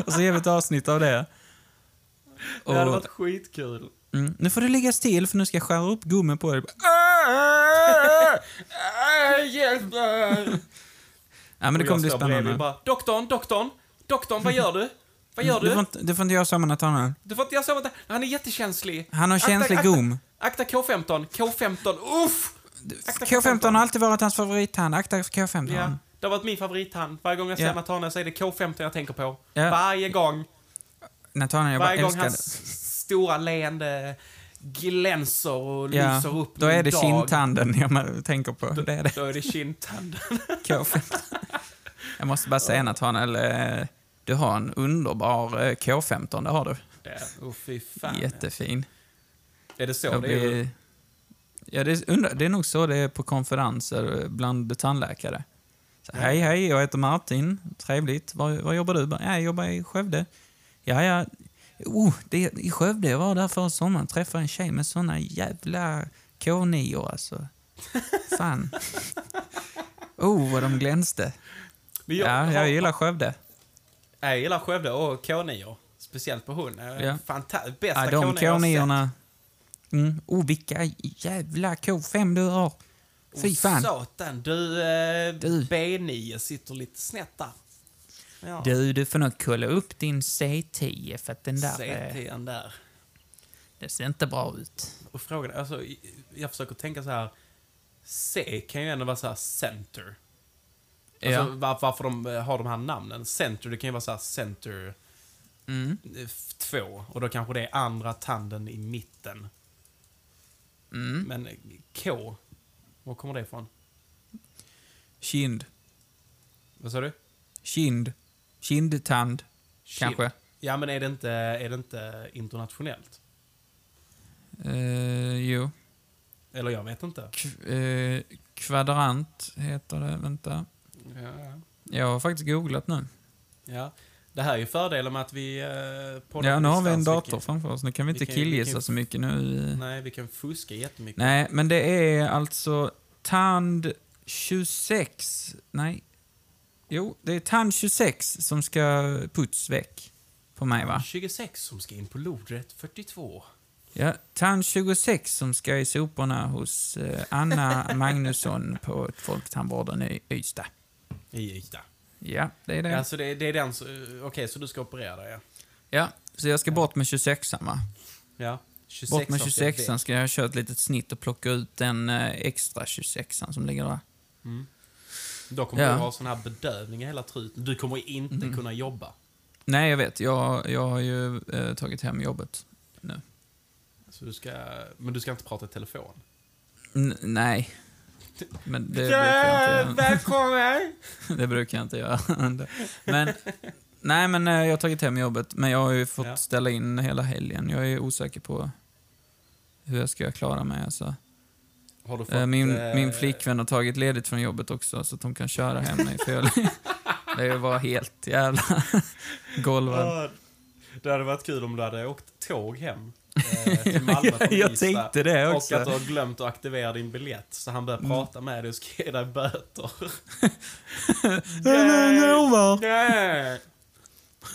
Speaker 1: och så ger vi ett avsnitt av det.
Speaker 2: Det hade
Speaker 1: Och-
Speaker 2: varit skitkul.
Speaker 1: Mm. Nu får du ligga still för nu ska jag skära upp gummen på dig.
Speaker 2: Äh, Hjälp mig!
Speaker 1: Ja, men det
Speaker 2: Och
Speaker 1: kommer bli
Speaker 2: jag står bredvid
Speaker 1: spännande.
Speaker 2: Bara, doktorn, doktorn, doktorn, vad gör du? Vad gör
Speaker 1: Mm, Du får
Speaker 2: du?
Speaker 1: inte, du får inte göra samma Nathaniel.
Speaker 2: Du får inte göra så mot Han är jättekänslig.
Speaker 1: Han har
Speaker 2: Akta-
Speaker 1: känslig
Speaker 2: akta-
Speaker 1: gom.
Speaker 2: Akta K15, K15, uff! Akta
Speaker 1: K15 har alltid varit hans favorittand. Akta för K15.
Speaker 2: Ja, det har varit min favorithand. Varje gång jag ser
Speaker 1: Ja.
Speaker 2: Nathaniel så är det K15 jag tänker på.
Speaker 1: Ja.
Speaker 2: Varje gång.
Speaker 1: Nathaniel, jag bara
Speaker 2: Varje gång
Speaker 1: älskar
Speaker 2: hans
Speaker 1: det.
Speaker 2: stora leende glänser och lyser upp
Speaker 1: Då
Speaker 2: min
Speaker 1: är det
Speaker 2: dag.
Speaker 1: kindtanden jag man- tänker på. Det är det.
Speaker 2: Då är det kindtand.
Speaker 1: K15. Jag måste bara säga Nathaniel, eh, du har en underbar eh, K15, det har du.
Speaker 2: Ja, oh, fy fan.
Speaker 1: Jättefin.
Speaker 2: Är det så?
Speaker 1: Jag
Speaker 2: Det är ju
Speaker 1: blir... Ja, det, är, undra- det är nog så det är på konferenser bland tandläkare. Så,
Speaker 2: Ja.
Speaker 1: Hej, hej, jag heter Martin. Trevligt. Var, var jobbar du? Bara, "Ja, Jag jobbar i Skövde. Ja, ja. Oh, det, I Skövde, jag var där förra sommaren. Träffade en tjej med såna jävla K9 alltså. Fan. Oh, vad de glänste.
Speaker 2: Men jag,
Speaker 1: Ja,
Speaker 2: har-
Speaker 1: jag gillar Skövde.
Speaker 2: Nej, Jag gillar Skövde och K9. Speciellt på hon. Ja.
Speaker 1: Ja.
Speaker 2: Fantastiskt. Bästa
Speaker 1: Ja, de
Speaker 2: K9 jag har sett.
Speaker 1: K9-orna. Mm. Oh, vilka jävla K5 du har. Fy
Speaker 2: Åh,
Speaker 1: fan.
Speaker 2: Satan, du, eh,
Speaker 1: Du.
Speaker 2: B9 sitter lite snett där. Ja.
Speaker 1: Du, du får nog kolla upp din C10 för att den där eh,
Speaker 2: CT'n där.
Speaker 1: den ser inte bra ut.
Speaker 2: Och frågan, alltså, i- jag försöker tänka så här. C kan ju ändå vara så här center. Alltså,
Speaker 1: Ja.
Speaker 2: var, varför de eh, har de här namnen. Center, det kan ju vara så här center
Speaker 1: Mm.
Speaker 2: 2. Och då kanske det är andra tanden i mitten.
Speaker 1: Mm.
Speaker 2: Men eh, K, var kommer det ifrån?
Speaker 1: Kind.
Speaker 2: Vad sa du?
Speaker 1: Kind. Kindtand, kanske.
Speaker 2: Ja, men är det inte, är det inte internationellt?
Speaker 1: Eh, jo.
Speaker 2: Eller jag vet inte.
Speaker 1: K- eh, kvadrant heter det. Vänta.
Speaker 2: Ja.
Speaker 1: Jag har faktiskt googlat nu.
Speaker 2: Ja. Det här är ju fördelen med att vi... Eh, poddar
Speaker 1: Ja,
Speaker 2: på
Speaker 1: nu har vi en
Speaker 2: distans.
Speaker 1: dator
Speaker 2: kan-
Speaker 1: framför oss. Nu kan vi
Speaker 2: vi
Speaker 1: inte
Speaker 2: kan ju- vi kan ju-
Speaker 1: killgissa så mycket nu. Nej.
Speaker 2: Nej, vi kan fuska jättemycket.
Speaker 1: Nej, men det är alltså tand 26. Nej. Jo, det är tand 26 som ska puts väck på mig, va?
Speaker 2: 26 som ska in på lodrätt 42.
Speaker 1: Ja, tand 26 som ska i soporna hos eh, Anna Magnusson på Folktandvården i Ystad.
Speaker 2: I yta.
Speaker 1: Ja, det är det.
Speaker 2: Alltså det, det är den som... eh, Okej, så du ska operera dig? Ja.
Speaker 1: Ja, så jag ska bort med 26an va?
Speaker 2: ja. 26
Speaker 1: Bort med
Speaker 2: som ska väck.
Speaker 1: 26an ska jag köra ett litet snitt och plocka ut den eh, extra 26an som ligger där.
Speaker 2: Mm. Då kommer
Speaker 1: Ja. Mm.
Speaker 2: du ha sån här bedövning i hela truten. Du kommer ju inte kunna jobba.
Speaker 1: Nej, jag vet. Jag, jag har ju eh, tagit hem jobbet.
Speaker 2: Så du ska, men du ska inte prata i telefon.
Speaker 1: N- nej. Men det brukar jag inte
Speaker 2: Ja,
Speaker 1: göra.
Speaker 2: välkommen!
Speaker 1: Det brukar jag inte göra. ändå. Men, nej, men eh, jag har tagit hem jobbet, men jag har ju fått
Speaker 2: Ja.
Speaker 1: ställa in hela helgen. Jag är osäker på hur jag ska klara mig. Alltså.
Speaker 2: Har du fått...
Speaker 1: Eh, Min,
Speaker 2: eh,
Speaker 1: min flickvän har tagit ledigt från jobbet också, så att hon kan köra hem mig. För jag det är ju bara helt jävla golvad.
Speaker 2: Ja, Det hade varit kul om du hade åkt tåg hem eh, till Malmö
Speaker 1: Jag,
Speaker 2: från
Speaker 1: jag
Speaker 2: Ystad.
Speaker 1: tänkte det
Speaker 2: Och att du
Speaker 1: också. Mm.
Speaker 2: har glömt att aktivera din biljett, så han börjar prata med dig och ska ge dig böter.
Speaker 1: Nej, men jag lovar.
Speaker 2: Nej!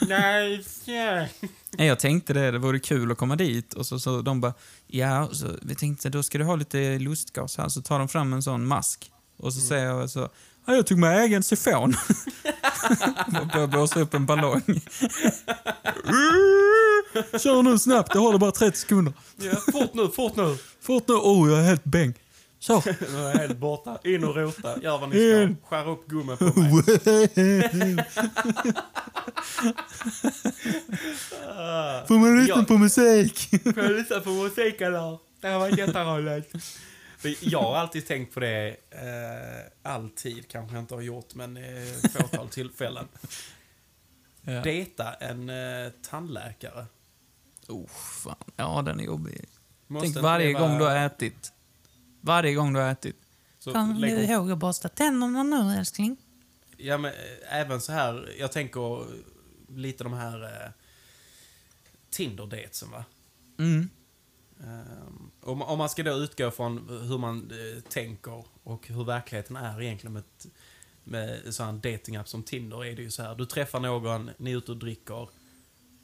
Speaker 2: Nej, nej.
Speaker 1: Nej, jag tänkte det. Det vore kul att komma dit. Och så, så de bara, ja, så, vi tänkte då ska du ha lite lustgas här. Så tar de fram en sån mask. Och
Speaker 2: Mm.
Speaker 1: så säger jag så, "Ja, jag tog med egen sifon. och börjar blåsa upp en ballong. Kör nu snabbt, jag håller bara 30 sekunder.
Speaker 2: Ja, fort nu, fort nu!
Speaker 1: Fort nu, oh jag är helt bäng. Så.
Speaker 2: Nu är jag helt borta. In och rota, gör vad ni
Speaker 1: In.
Speaker 2: ska. Skär upp gummen på mig. Ah.
Speaker 1: Får man lyssna
Speaker 2: Ja.
Speaker 1: på musik?
Speaker 2: Får jag lyssna på musik eller? Det här var jätteroligt. Men Jag har alltid tänkt på det, eh, alltid kanske jag inte har gjort, men eh, ett fåtal tillfällen.
Speaker 1: Ja.
Speaker 2: Dejta en eh, tandläkare.
Speaker 1: Oh, fan. Ja, den är jobbig.
Speaker 2: Måste
Speaker 1: Tänk
Speaker 2: inte
Speaker 1: varje
Speaker 2: det vara-
Speaker 1: gång du har ätit. Varje gång du har ätit.
Speaker 2: så
Speaker 1: Kom
Speaker 2: lägg
Speaker 1: du
Speaker 2: upp-
Speaker 1: ihåg att borsta tänderna nu älskling?
Speaker 2: Ja, men eh, även så här, jag tänker eh, lite de här eh, Tinder-datesen va?
Speaker 1: Mm.
Speaker 2: Ehm, om, om man ska då utgå från hur man eh, tänker och hur verkligheten är egentligen med, ett- med sån här datingapp som Tinder är det ju så här. Du träffar någon, ni är ute och dricker,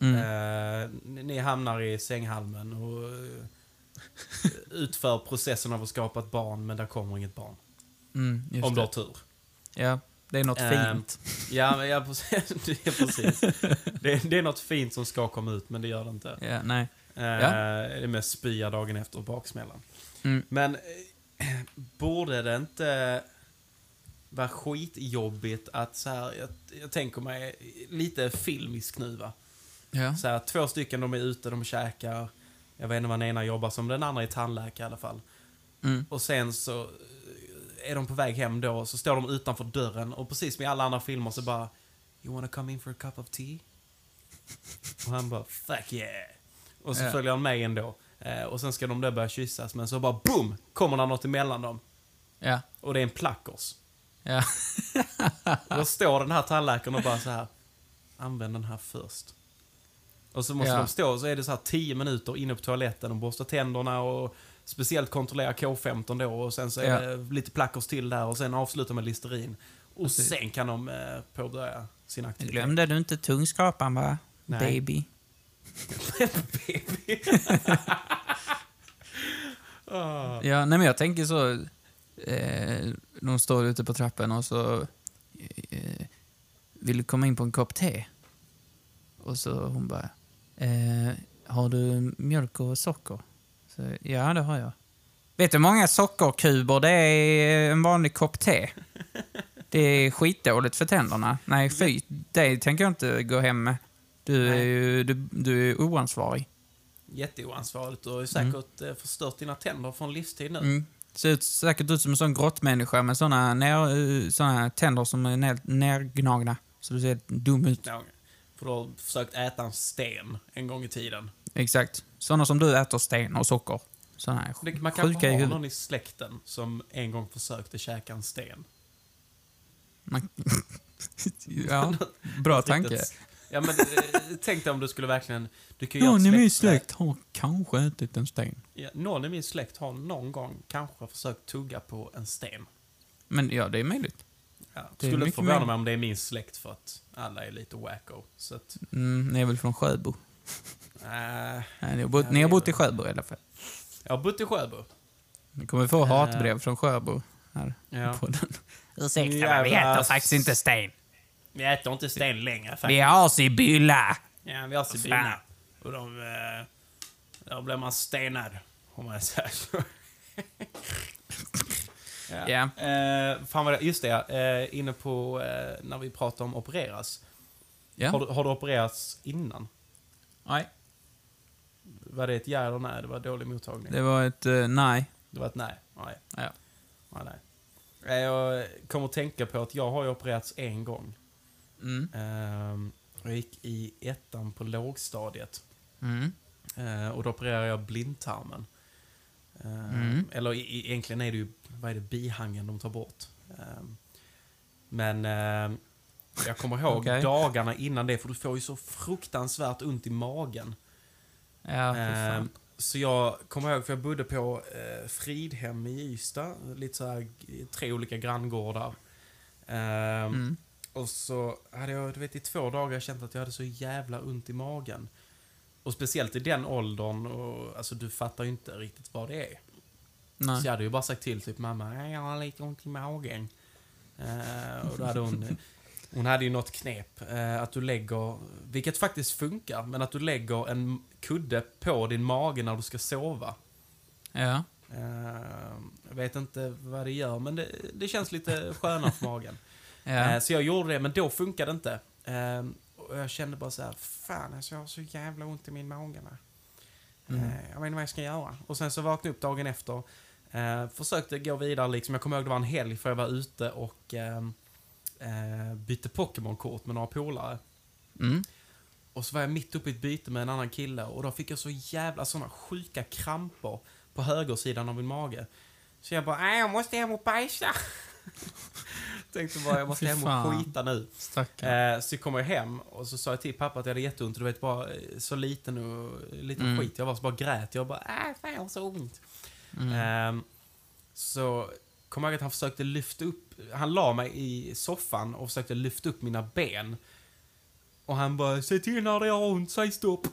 Speaker 1: Mm.
Speaker 2: eh, ni, ni hamnar i sänghalmen och eh, utför processen av att skapa ett barn men där kommer inget barn.
Speaker 1: Mm, just
Speaker 2: om du har
Speaker 1: det.
Speaker 2: tur.
Speaker 1: Ja, det är något
Speaker 2: Ehm,
Speaker 1: fint.
Speaker 2: Ja, men ja, precis. Ja, precis. Det, det är något fint som ska komma ut men det gör det inte.
Speaker 1: Ja, nej.
Speaker 2: Eh,
Speaker 1: Ja.
Speaker 2: Det är mest spya dagen efter och baksmällan.
Speaker 1: Mm.
Speaker 2: Men eh, borde det inte vara skitjobbigt att så här, jag, jag tänker mig lite filmisk nu va.
Speaker 1: Ja.
Speaker 2: Så här, två stycken de är ute, de käkar. Jag vet inte vad den ena jobbar som, den andra är tandläkare i alla fall.
Speaker 1: Mm.
Speaker 2: Och sen så eh, är de på väg hem då, så står de utanför dörren och precis som i alla andra filmer så bara You wanna come in for a cup of tea? Och han bara Fuck yeah! Och så
Speaker 1: Ja.
Speaker 2: följer han med ändå. Eh, och sen ska de då börja kyssas men så bara BOOM! Kommer det något emellan dem.
Speaker 1: Ja.
Speaker 2: Och det är en plackers.
Speaker 1: Ja.
Speaker 2: Och då står den här tandläkaren och bara så här Använd den här först. Och så måste
Speaker 1: Ja.
Speaker 2: de stå, så är det så här 10 minuter inne på toaletten och borsta tänderna och speciellt kontrollera K15 då och sen så är
Speaker 1: Ja.
Speaker 2: det lite plackers till där och sen avsluta med Listerin. Och
Speaker 1: Precis.
Speaker 2: sen kan de eh, påbörja sin aktivitet.
Speaker 1: Glömde du inte tungskrapan va?
Speaker 2: Nej.
Speaker 1: Baby.
Speaker 2: Baby. Ah.
Speaker 1: Ja, nej men jag tänker så. Eh, de står ute på trappan och så... Eh, vill du komma in på en kopp te? Och så hon bara... Eh, har du mjölk och socker? Så, ja, det har jag. Vet du hur många sockerkuber det är en vanlig kopp te? Det är skitdåligt för tänderna. Nej, fy. Det tänker jag inte gå hem med. Du är,
Speaker 2: Nej.
Speaker 1: ju, du, du är oansvarig.
Speaker 2: Jätteoansvarigt. Du har ju säkert eh, förstört dina tänder från livstid nu.
Speaker 1: Mm. Ser ut, säkert ut som en sån grottmänniska med såna, ner, eh, såna tänder som är ner, nergnagna. Så du ser helt dum ut.
Speaker 2: Ja, För du har försökt äta en sten en gång i tiden.
Speaker 1: Exakt. Såna som du äter sten och socker. Såna här
Speaker 2: Det- Man
Speaker 1: sj-
Speaker 2: kanske
Speaker 1: sjuka i
Speaker 2: har
Speaker 1: huvudet.
Speaker 2: någon i släkten som en gång försökte käka en sten.
Speaker 1: Man- ja, bra tanke.
Speaker 2: Riktigt- Ja, men, eh, tänk dig om du skulle verkligen... Du kan ju göra
Speaker 1: Någon i
Speaker 2: ett
Speaker 1: min
Speaker 2: släktträd.
Speaker 1: släkt har kanske ätit en sten.
Speaker 2: Ja, någon i min släkt har någon gång kanske försökt tugga på en sten.
Speaker 1: Men ja, det är möjligt.
Speaker 2: Ja,
Speaker 1: Det är
Speaker 2: skulle inte
Speaker 1: mycket
Speaker 2: förvåna
Speaker 1: möjligt.
Speaker 2: mig om det är min släkt för att alla är lite wacko. Så att,
Speaker 1: Mm, ni är väl från Sjöbo?
Speaker 2: eh,
Speaker 1: Nej, ni, har bott,
Speaker 2: Ja,
Speaker 1: ni har
Speaker 2: det är
Speaker 1: bott
Speaker 2: väl-
Speaker 1: i Sjöbo i alla fall.
Speaker 2: jag har bott i Sjöbo.
Speaker 1: Ni kommer få hatbrev från Sjöbo här
Speaker 2: Eh. Ja.
Speaker 1: i podden.
Speaker 2: Ursäkta, men vi Jävla- äter faktiskt inte
Speaker 1: sten.
Speaker 2: Vi äter inte sten längre faktiskt.
Speaker 1: har Sibylla.
Speaker 2: Ja, vi har Sibylla.
Speaker 1: Fan.
Speaker 2: Och de... eh, Där blir man stenad, om man säger så. ja.
Speaker 1: Ja.
Speaker 2: Eh, fan vad det, just det, eh, inne på eh, när vi pratar om opereras. Har,
Speaker 1: Ja.
Speaker 2: du, har du opererats innan?
Speaker 1: Nej.
Speaker 2: Var det ett ja eller nej? Det var dålig mottagning. Det,
Speaker 1: Det var ett eh, nej.
Speaker 2: var ett nej. Nej.
Speaker 1: Ja.
Speaker 2: nej, nej. Eh, Jag kommer att tänka på att jag har ju opererats en gång.
Speaker 1: Mm.
Speaker 2: Ehm, jag gick i ettan på lågstadiet.
Speaker 1: Mm.
Speaker 2: Eh, och då opererar jag blindtarmen. Eh,
Speaker 1: Mm.
Speaker 2: Eller i- i- egentligen är det ju, vad är det, bihangen de tar bort. Eh, men eh, jag kommer ihåg
Speaker 1: Okej.
Speaker 2: dagarna innan det, för du får ju så fruktansvärt ont i magen.
Speaker 1: Ja, Ah, fy
Speaker 2: Eh,
Speaker 1: fan.
Speaker 2: så jag kommer ihåg, för jag bodde på eh, Fridhem i Ystad, lite så här, g- tre olika granngårdar. Eh,
Speaker 1: Mm.
Speaker 2: och så hade jag, du vet, i två dagar känt att jag hade så jävla ont i magen. Och speciellt i den åldern, och, alltså du fattar ju inte riktigt vad det är.
Speaker 1: Nej.
Speaker 2: Så jag hade ju bara sagt till typ mamma, "Nej, jag har lite ont i magen. Eh, och då hade hon, hon hade ju något knep. eh, att du lägger, vilket faktiskt funkar, men att du lägger en kudde på din mage när du ska sova.
Speaker 1: Ja.
Speaker 2: Eh, jag vet inte vad det gör, men det, det känns lite skönare för magen. Eh,
Speaker 1: Ja.
Speaker 2: Så jag gjorde det, men då funkade det inte. Eh, Och jag kände bara så här, fan alltså jag har så jävla ont i min mage. va." Eh,
Speaker 1: Mm.
Speaker 2: Jag vet inte vad jag ska göra. Och sen så vaknade jag upp dagen efter. Eh, försökte gå vidare liksom. Jag kommer ihåg det var en helg för jag var ute och eh, eh, bytte Pokémon-kort med några polare.
Speaker 1: Mm.
Speaker 2: Och så var jag mitt uppe i ett byte med en annan kille och då fick jag så jävla såna sjuka kramper på högersidan av min mage. Så jag bara, nej jag måste hem och bajsa. Tänkte bara, jag måste
Speaker 1: Fy
Speaker 2: hem och
Speaker 1: fan.
Speaker 2: skita nu.
Speaker 1: Stackarn.
Speaker 2: Eh, så kom jag hem och så sa jag till pappa att jag hade jätteont. Du vet, bara eh, så liten och liten
Speaker 1: Mm.
Speaker 2: skit. Jag var så bara grät. Jag bara, äh, fan jag har så ont.
Speaker 1: Mm.
Speaker 2: Ehm, så kom jag ihåg att han försökte lyfta upp, han la mig i soffan och försökte lyfta upp mina ben. Och han bara, säg till när det gör ont, säg stopp.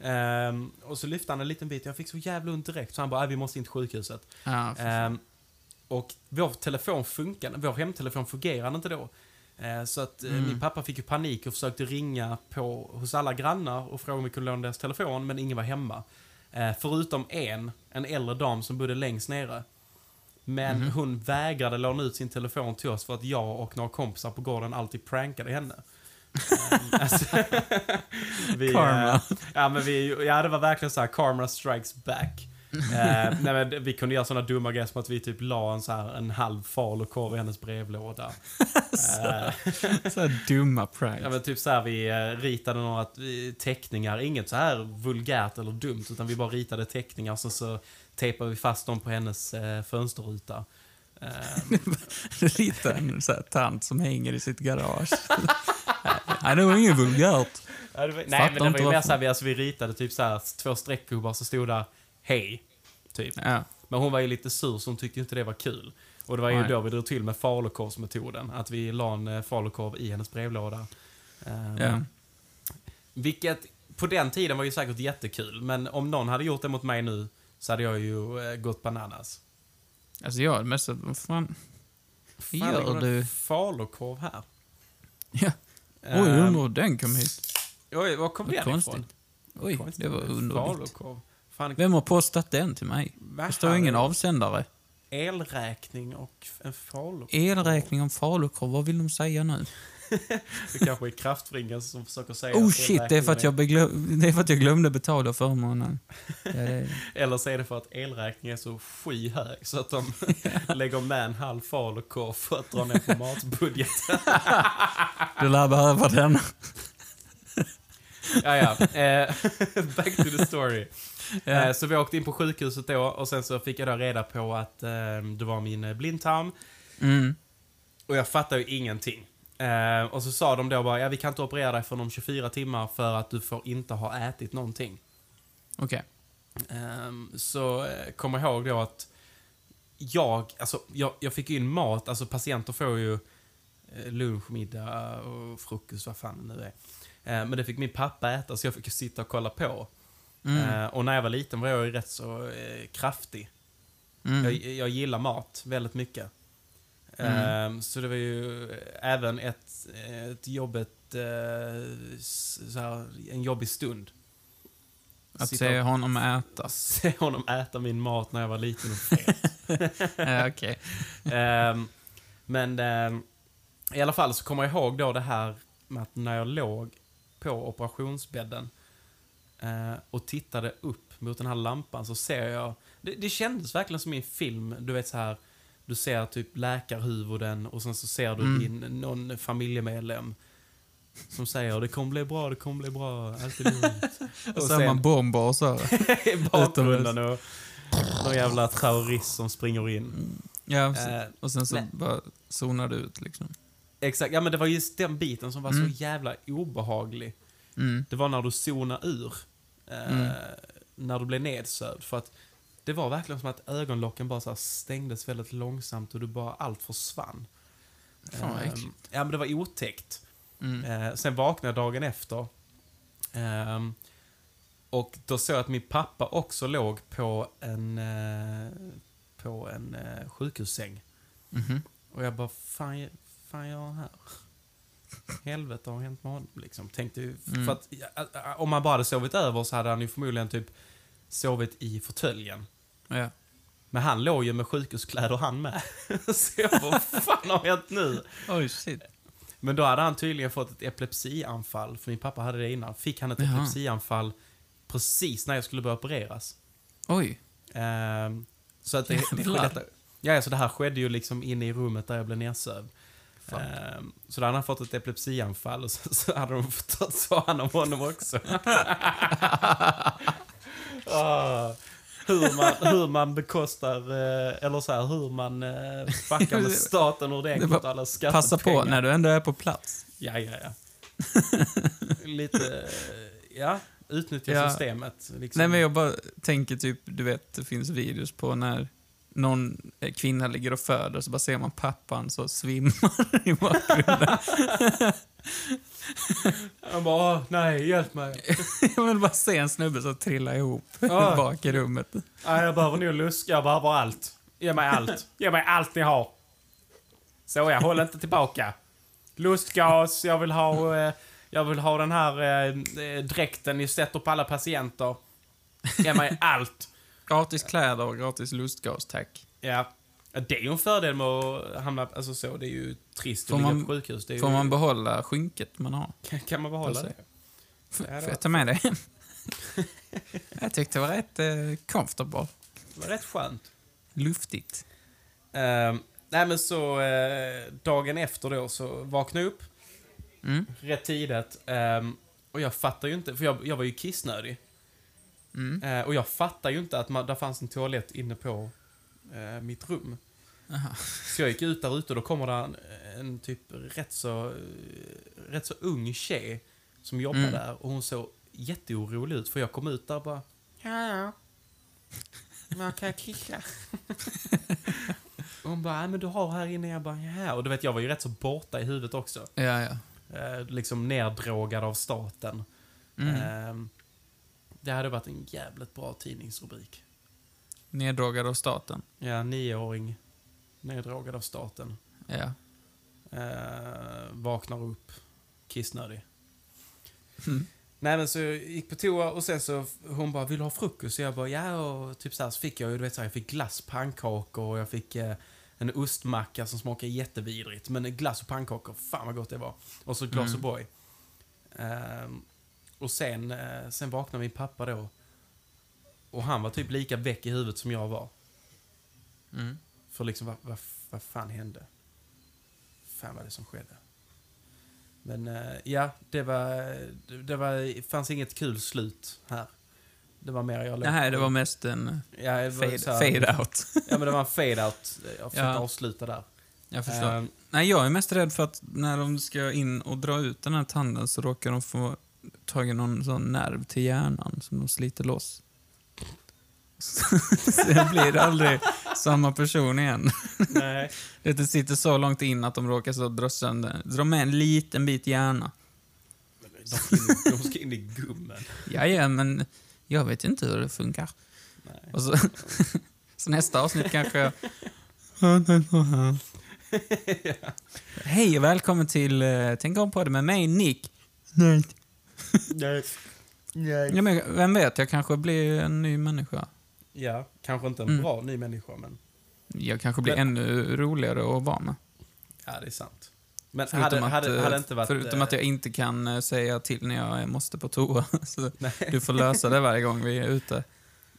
Speaker 2: Ehm, och så lyfte han en liten bit, jag fick så jävla ont direkt. Så han bara, äh, vi måste in till sjukhuset.
Speaker 1: Ja, för-
Speaker 2: Ehm, och vår telefon funkade, vår hemtelefon fungerade inte då. Eh, Så att eh,
Speaker 1: Mm.
Speaker 2: min pappa fick ju panik och försökte ringa på, hos alla grannar och fråga om vi kunde låna deras telefon, men ingen var hemma. Eh, Förutom en, en äldre dam som bodde längst nere. Men
Speaker 1: Mhm.
Speaker 2: hon vägrade låna ut sin telefon till oss för att jag och några kompisar på gården alltid prankade henne. Ehm, alltså, vi, eh,
Speaker 1: Karma.
Speaker 2: Ja, men vi, ja, det var verkligen så här karma strikes back. Eh, nej, men vi kunde göra såna dumma grejer som att vi typ la en, så här, en halv falukorv i hennes brevlåda. Eh,
Speaker 1: Så här dumma
Speaker 2: ja,
Speaker 1: pranks.
Speaker 2: men typ så här, vi eh, ritade några eh, teckningar, inget så här vulgärt eller dumt, utan vi bara ritade teckningar och så, så tejpade vi fast dem på hennes eh, fönsterruta. Eh,
Speaker 1: Lite en så här tant som hänger i sitt garage. Nej, det var inget vulgärt.
Speaker 2: ja, det var,
Speaker 1: Fattar
Speaker 2: nej, men det var
Speaker 1: inte
Speaker 2: ju mer
Speaker 1: varför.
Speaker 2: så här, vi, alltså, vi ritade typ så här, två streckgubbar så stod där hej, typ.
Speaker 1: Ja.
Speaker 2: Men hon var ju lite sur så hon tyckte ju inte det var kul. Och det var ju
Speaker 1: Nej.
Speaker 2: då vi drog till med falukorvsmetoden. Att vi la en eh, falukorv i hennes brevlåda. Ehm,
Speaker 1: Ja.
Speaker 2: Vilket på den tiden var ju säkert jättekul. Men om någon hade gjort det mot mig nu så hade jag ju eh, gått bananas.
Speaker 1: Alltså jag hade mest sagt, vad fan.
Speaker 2: Fan,
Speaker 1: Gör
Speaker 2: det går en
Speaker 1: du?
Speaker 2: Falukorv här.
Speaker 1: Ja. Oj,
Speaker 2: Ehm,
Speaker 1: undrar hur den kom hit.
Speaker 2: Oj, var kom
Speaker 1: Vad
Speaker 2: den ifrån?
Speaker 1: konstigt. Oj, det var underligt.
Speaker 2: Falukorv. Fan,
Speaker 1: Vem har postat den till mig?
Speaker 2: vad
Speaker 1: Det står
Speaker 2: här?
Speaker 1: ingen avsändare.
Speaker 2: Elräkning och en falukorv.
Speaker 1: Elräkning om falukorv, vad vill de säga nu?
Speaker 2: Det kanske är kraftringen som försöker säga
Speaker 1: Oh
Speaker 2: att
Speaker 1: shit, det är, för att
Speaker 2: elräkningen
Speaker 1: jag beglö- det är för att jag glömde betala förmånen. Ja, det
Speaker 2: Eller så är det för att elräkningen är så skyhög så att de lägger med en halv falukorv för att dra ner på matbudgeten.
Speaker 1: du lär behöva den.
Speaker 2: ja, ja. Eh, back to the story. Eh,
Speaker 1: Ja.
Speaker 2: så vi åkte in på sjukhuset då och sen så fick jag då reda på att eh, det var min eh, blindtarm
Speaker 1: Mm.
Speaker 2: och jag fattar ju ingenting. Eh, och så sa de då bara, ja vi kan inte operera dig förrän om 24 timmar för att du får inte ha ätit någonting.
Speaker 1: Okej.
Speaker 2: Ehm, så eh, kommer jag ihåg då att jag, alltså, jag, jag fick in mat, alltså patienter får ju eh, lunch, middag och frukost, vad fan det nu är. Eh, Men det fick min pappa äta så jag fick ju sitta och kolla på.
Speaker 1: Mm.
Speaker 2: Eh, Och när jag var liten var jag ju rätt så eh, kraftig.
Speaker 1: Mm.
Speaker 2: Jag, jag gillar mat väldigt mycket.
Speaker 1: Mm.
Speaker 2: Ehm, Så det var ju även ett, ett jobbigt, eh, s- så här, en jobbig stund.
Speaker 1: Att
Speaker 2: Sitta
Speaker 1: se
Speaker 2: och-
Speaker 1: honom äta.
Speaker 2: se honom äta min mat när jag var liten och fet.
Speaker 1: Ja, Okej.
Speaker 2: Ehm, men ehm, i alla fall så kommer jag ihåg då det här med att när jag låg på operationsbädden eh, och tittade upp mot den här lampan så ser jag, det, det kändes verkligen som i en film, du vet så här du ser typ läkarhuvuden och sen så ser du
Speaker 1: Mm.
Speaker 2: din, någon familjemedlem som säger det kommer bli bra, det kommer bli bra, allt är lugnt.
Speaker 1: Och så är man bomber och så.
Speaker 2: i bakgrunden och någon jävla terrorist som springer in.
Speaker 1: Ja, precis.
Speaker 2: Eh,
Speaker 1: och sen så
Speaker 2: nej.
Speaker 1: bara zonar du ut liksom.
Speaker 2: Exakt, ja men det var just den biten som var
Speaker 1: Mm.
Speaker 2: så jävla obehaglig.
Speaker 1: Mm.
Speaker 2: Det var när du zonade ur. Eh,
Speaker 1: Mm.
Speaker 2: När du blev nedsövd. För att det var verkligen som att ögonlocken bara så här stängdes väldigt långsamt och du bara, allt försvann.
Speaker 1: Fan, vad
Speaker 2: Ehm,
Speaker 1: äckligt.
Speaker 2: Ja men det var otäckt.
Speaker 1: Mm.
Speaker 2: Eh, sen vaknade jag dagen efter. Ehm, och då såg jag att min pappa också låg på en, eh, på en eh, sjukhussäng.
Speaker 1: Mhm.
Speaker 2: Och jag bara, fan, jag- fan jag är här. Helvete har hänt med honom liksom. Tänkte ju,
Speaker 1: Mm.
Speaker 2: för att, ja, ä- ä- om han bara hade sovit över så hade han ju förmodligen typ sovit i fåtöljen.
Speaker 1: Ja.
Speaker 2: Men han låg ju med sjukhuskläder han med. så jag bara, vad fan har hänt nu?
Speaker 1: Oj, shit.
Speaker 2: Men då hade han tydligen fått ett epilepsianfall, för min pappa hade det innan. Fick han ett
Speaker 1: Jaha.
Speaker 2: epilepsianfall precis när jag skulle börja opereras.
Speaker 1: Oj.
Speaker 2: Ehm, så att det, det,
Speaker 1: Jävlar.
Speaker 2: detta, ja, så det här skedde ju liksom inne i rummet där jag blev nedsövd.
Speaker 1: Fuck.
Speaker 2: Ehm, så då hade han fått ett epilepsianfall och så, så hade de fått ta- ta hand om honom också. Ah, hur, man, hur man bekostar, eh, eller så här, hur man eh, fuckar med staten och det
Speaker 1: Det var-
Speaker 2: enkelt alla skattepengar.
Speaker 1: Passa på när du ändå är på plats.
Speaker 2: Ja, ja, ja. Lite, eh, ja, utnyttja
Speaker 1: Ja.
Speaker 2: systemet. Liksom.
Speaker 1: Nej, men jag bara tänker typ, du vet, det finns videos på när någon eh, kvinna ligger och föder så bara ser man pappan så svimmar i bakgrunden.
Speaker 2: Han bara, "Åh, nej, hjälp mig.
Speaker 1: Jag vill bara se en snubbe som trillar ihop
Speaker 2: Ja.
Speaker 1: bak i rummet.
Speaker 2: Nej, jag behöver nog luska. Jag behöver allt. Ge mig allt. Ge mig allt ni har. Så ja, håll inte tillbaka. Lustgas, jag vill ha... Eh, jag vill ha den här eh, eh, dräkten ni sätter på alla patienter. Ge mig allt.
Speaker 1: Gratis kläder och gratis lustgas, tack.
Speaker 2: Ja. Ja, Det är ju en fördel med att hamna... Alltså så, det är ju trist
Speaker 1: Får
Speaker 2: att ligga
Speaker 1: man-
Speaker 2: på sjukhus. Det är ju,
Speaker 1: Får man behålla skynket man har?
Speaker 2: kan, kan man behålla
Speaker 1: Får
Speaker 2: det?
Speaker 1: se. F-
Speaker 2: Ja, det
Speaker 1: Får
Speaker 2: var-
Speaker 1: jag ta med det hem? Jag tyckte det var rätt eh, comfortable.
Speaker 2: Det var rätt skönt.
Speaker 1: Luftigt.
Speaker 2: Eh, nej, men så eh, dagen efter då så vaknade jag upp.
Speaker 1: Mm.
Speaker 2: rätt tidigt. ehm, och jag fattar ju inte, för jag, jag var ju kissnödig.
Speaker 1: Mm.
Speaker 2: Eh, och jag fattar ju inte att man, där fanns en toalett inne på eh, mitt rum.
Speaker 1: Aha.
Speaker 2: Så jag gick ut där ute och då kommer det en, en typ rätt så, eh, rätt så ung tjej som jobbar
Speaker 1: Mm.
Speaker 2: där och hon såg jätteorolig ut för jag kom ut där och bara Ja, man kan jag kissa? Och hon bara, "Nej, men du har här inne. Jag bara, ja. Och du vet, jag var ju rätt så borta i huvudet också
Speaker 1: Ja, ja.
Speaker 2: eh, liksom neddrogad av staten.
Speaker 1: Mm.
Speaker 2: Eh, det hade varit en jävligt bra tidningsrubrik.
Speaker 1: Neddrogad av staten.
Speaker 2: Ja, nioåring, neddrogad av staten.
Speaker 1: Ja.
Speaker 2: Eh, vaknar upp, kissnödig.
Speaker 1: Mm.
Speaker 2: Nej men så jag gick på toa och sen så hon bara, vill du ha frukost? Så jag bara, ja och typ så här så fick jag ju, du vet så här, jag fick glass, pannkakor och jag fick eh, en ostmacka som smakade jättevidrigt. Men glass och pannkakor, fan vad gott det var. Och så ett glas
Speaker 1: Mm.
Speaker 2: O'boy. Ehm, och sen, eh, sen vaknade min pappa då. Och han var typ lika väck i huvudet som jag var.
Speaker 1: Mm.
Speaker 2: För liksom, vad, vad, vad fan hände? Fan vad det som skedde. Men eh, ja, det var, det, det var, det fanns inget kul slut här. Det var mer jag låg-
Speaker 1: Nej, det var mest en
Speaker 2: ja, det var
Speaker 1: fade,
Speaker 2: så här-
Speaker 1: fade out.
Speaker 2: Ja, men det var en fade-out. Jag försökte
Speaker 1: Ja.
Speaker 2: avsluta där.
Speaker 1: Jag förstår.
Speaker 2: Eh,
Speaker 1: Nej, jag är mest rädd för att när de ska in och dra ut den här tanden så råkar de få tag i någon sån nerv till hjärnan som de sliter loss. Så det blir aldrig samma person igen.
Speaker 2: nej.
Speaker 1: Det sitter så långt in att de råkar så dra sönder, dra med en liten bit hjärna.
Speaker 2: De ska, in, i- de ska in i gummen.
Speaker 1: Ja, ja, men jag vet inte hur det funkar.
Speaker 2: Nej.
Speaker 1: Och så, så nästa avsnitt kanske jag... Hej och välkommen till eh, Tänk om på det med mig, Nick. Nej.
Speaker 2: nej.
Speaker 1: Ja, men vem vet, jag kanske blir en ny människa.
Speaker 2: Ja, kanske inte en
Speaker 1: Mm.
Speaker 2: bra ny människa, men
Speaker 1: Jag kanske blir
Speaker 2: Men-
Speaker 1: ännu roligare att vara med.
Speaker 2: ja, det är sant. Men
Speaker 1: Förutom,
Speaker 2: hade,
Speaker 1: att,
Speaker 2: hade,
Speaker 1: eh,
Speaker 2: hade inte varit...
Speaker 1: förutom att jag inte kan eh, säga till när jag måste på toa. Så
Speaker 2: Nej.
Speaker 1: du får lösa det varje gång vi är ute.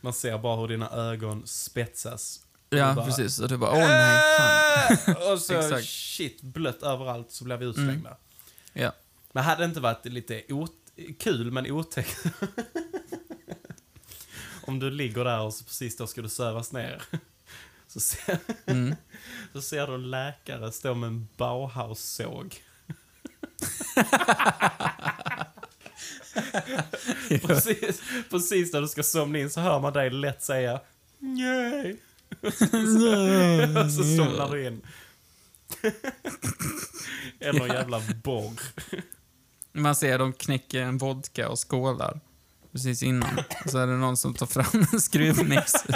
Speaker 2: Man ser bara hur dina ögon spetsas.
Speaker 1: Ja,
Speaker 2: Och bara-
Speaker 1: precis. Och du bara, åh nej, fan.
Speaker 2: Äh! Och så
Speaker 1: Exakt. Mm.
Speaker 2: shit, blött överallt så blev vi utslängda.
Speaker 1: Ja.
Speaker 2: Men hade det inte varit lite ot- kul men otäckt? Om du ligger där och så precis då ska du sövas ner. Så ser,
Speaker 1: Mm.
Speaker 2: så ser du en läkare stå med en Bauhaus-såg. precis, precis när du ska somna in så hör man dig lätt säga Nej.
Speaker 1: Mm,
Speaker 2: Och så somnar du in. Eller en jävla borr.
Speaker 1: Man ser dem knäcka en vodka och skålar. precis innan. Och så är det någon som tar fram en skruvmejsel.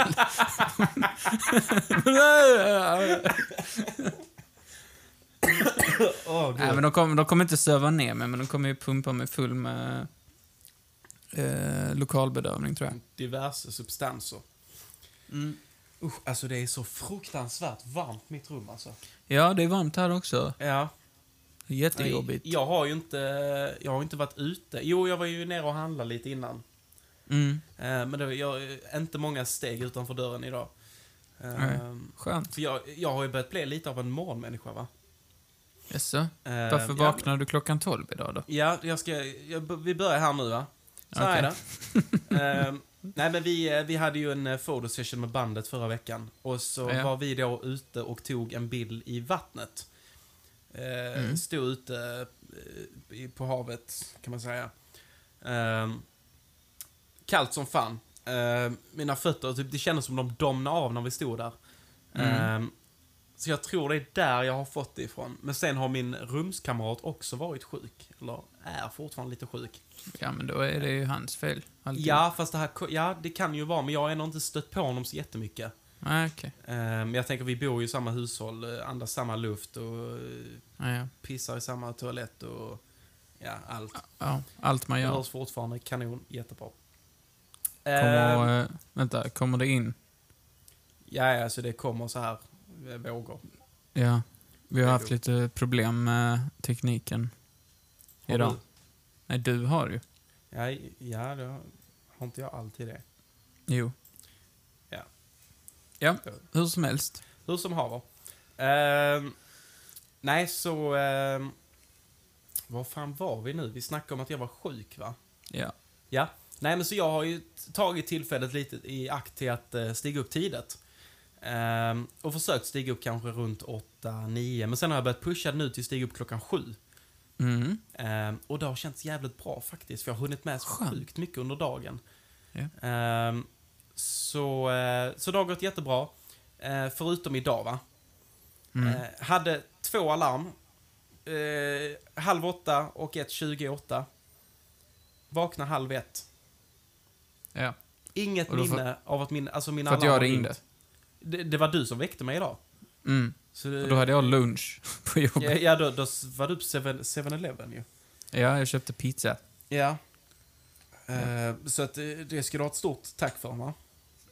Speaker 2: Åh,
Speaker 1: Nej, men de kommer de kommer inte söva ner mig, men de kommer ju pumpa mig full med eh, lokalbedövning, tror jag.
Speaker 2: Diverse substanser. Mm. Usch, alltså det är så fruktansvärt varmt mitt rum alltså.
Speaker 1: Ja, det är varmt här också.
Speaker 2: Ja.
Speaker 1: Det är jättejobbigt.
Speaker 2: Jag har ju inte, jag har inte varit ute. Jo, jag var ju nere och handlade lite innan.
Speaker 1: Mm.
Speaker 2: Eh, Men det var jag, inte många steg utanför dörren idag. Eh,
Speaker 1: Nej. Skönt.
Speaker 2: För jag, jag har ju börjat bli lite av en morgonmänniska va?
Speaker 1: Jaså?
Speaker 2: Eh,
Speaker 1: Varför
Speaker 2: ja,
Speaker 1: vaknade du klockan 12 idag då?
Speaker 2: Ja, jag ska, jag, vi börjar här nu va? Så här är det. Ehm, nej men vi, eh, vi hade ju en eh, photo session med bandet förra veckan. Och så
Speaker 1: Ja.
Speaker 2: var vi då ute och tog en bild i vattnet. Eh,
Speaker 1: Mm.
Speaker 2: Stod ute eh, i- på havet, kan man säga. Ehm, kallt som fan. Ehm, mina fötter, typ, det kändes som de domnade av när vi stod där.
Speaker 1: Mm.
Speaker 2: Ehm, så jag tror det är där jag har fått det ifrån. Men sen har min rumskamrat också varit sjuk. Eller är fortfarande lite sjuk.
Speaker 1: Ja, men då är det ju hans fel. alltid.
Speaker 2: Ja, fast det här, ja, det kan ju vara, men jag har ändå inte stött på honom så jättemycket.
Speaker 1: Nej, Ah, okej.
Speaker 2: Ehm, jag tänker, vi bor ju i samma hushåll, eh, andas samma luft och eh,
Speaker 1: Ja, Ah, ja.
Speaker 2: pissar i samma toalett och ja, allt.
Speaker 1: ja, allt man
Speaker 2: Det
Speaker 1: gör.
Speaker 2: hörs fortfarande kanon, jättebra. Ehm,
Speaker 1: Kommer, eh, vänta, kommer det in?
Speaker 2: Ja, ja, så det kommer så här eh, vågor.
Speaker 1: Ja. Vi har
Speaker 2: Det
Speaker 1: haft
Speaker 2: går.
Speaker 1: lite problem med tekniken
Speaker 2: Har
Speaker 1: idag.
Speaker 2: du-
Speaker 1: Nej, du har ju.
Speaker 2: Ja, ja, det har har inte jag alltid det.
Speaker 1: Jo.
Speaker 2: Ja.
Speaker 1: Ja, hur som helst.
Speaker 2: Hur som haver. Ehm, nej, så... ehm, var fan var vi nu? Vi snackade om att jag var sjuk, va?
Speaker 1: Ja.
Speaker 2: Ja. Nej, men så jag har ju tagit tillfället lite i akt till att eh, stiga upp tidigt. Ehm, och försökt stiga upp kanske runt 8-9, men sen har jag börjat pusha nu till stiga upp klockan 7.
Speaker 1: Mm.
Speaker 2: Ehm, och det har känts jävligt bra faktiskt, för jag har hunnit med så
Speaker 1: Skönt.
Speaker 2: sjukt mycket under dagen.
Speaker 1: Ja.
Speaker 2: Ehm, så, eh, så det har gått jättebra. Eh, förutom idag va.
Speaker 1: Mm.
Speaker 2: Eh, hade två alarm. Eh, halv åtta och ett 28. Vakna halv ett.
Speaker 1: Ja.
Speaker 2: Inget
Speaker 1: Och då för-
Speaker 2: minne av att min, alltså mina
Speaker 1: För att
Speaker 2: alarm
Speaker 1: jag
Speaker 2: har
Speaker 1: ringde.
Speaker 2: ringt. Det, det var du som väckte mig idag.
Speaker 1: Mm.
Speaker 2: Så
Speaker 1: Och då hade jag lunch på
Speaker 2: ja,
Speaker 1: jobbet.
Speaker 2: ja, då, då var du på 7- 7-Eleven ju.
Speaker 1: Ja, jag köpte pizza.
Speaker 2: Ja. Eh, så att eh, det ska du ha ett stort tack för va.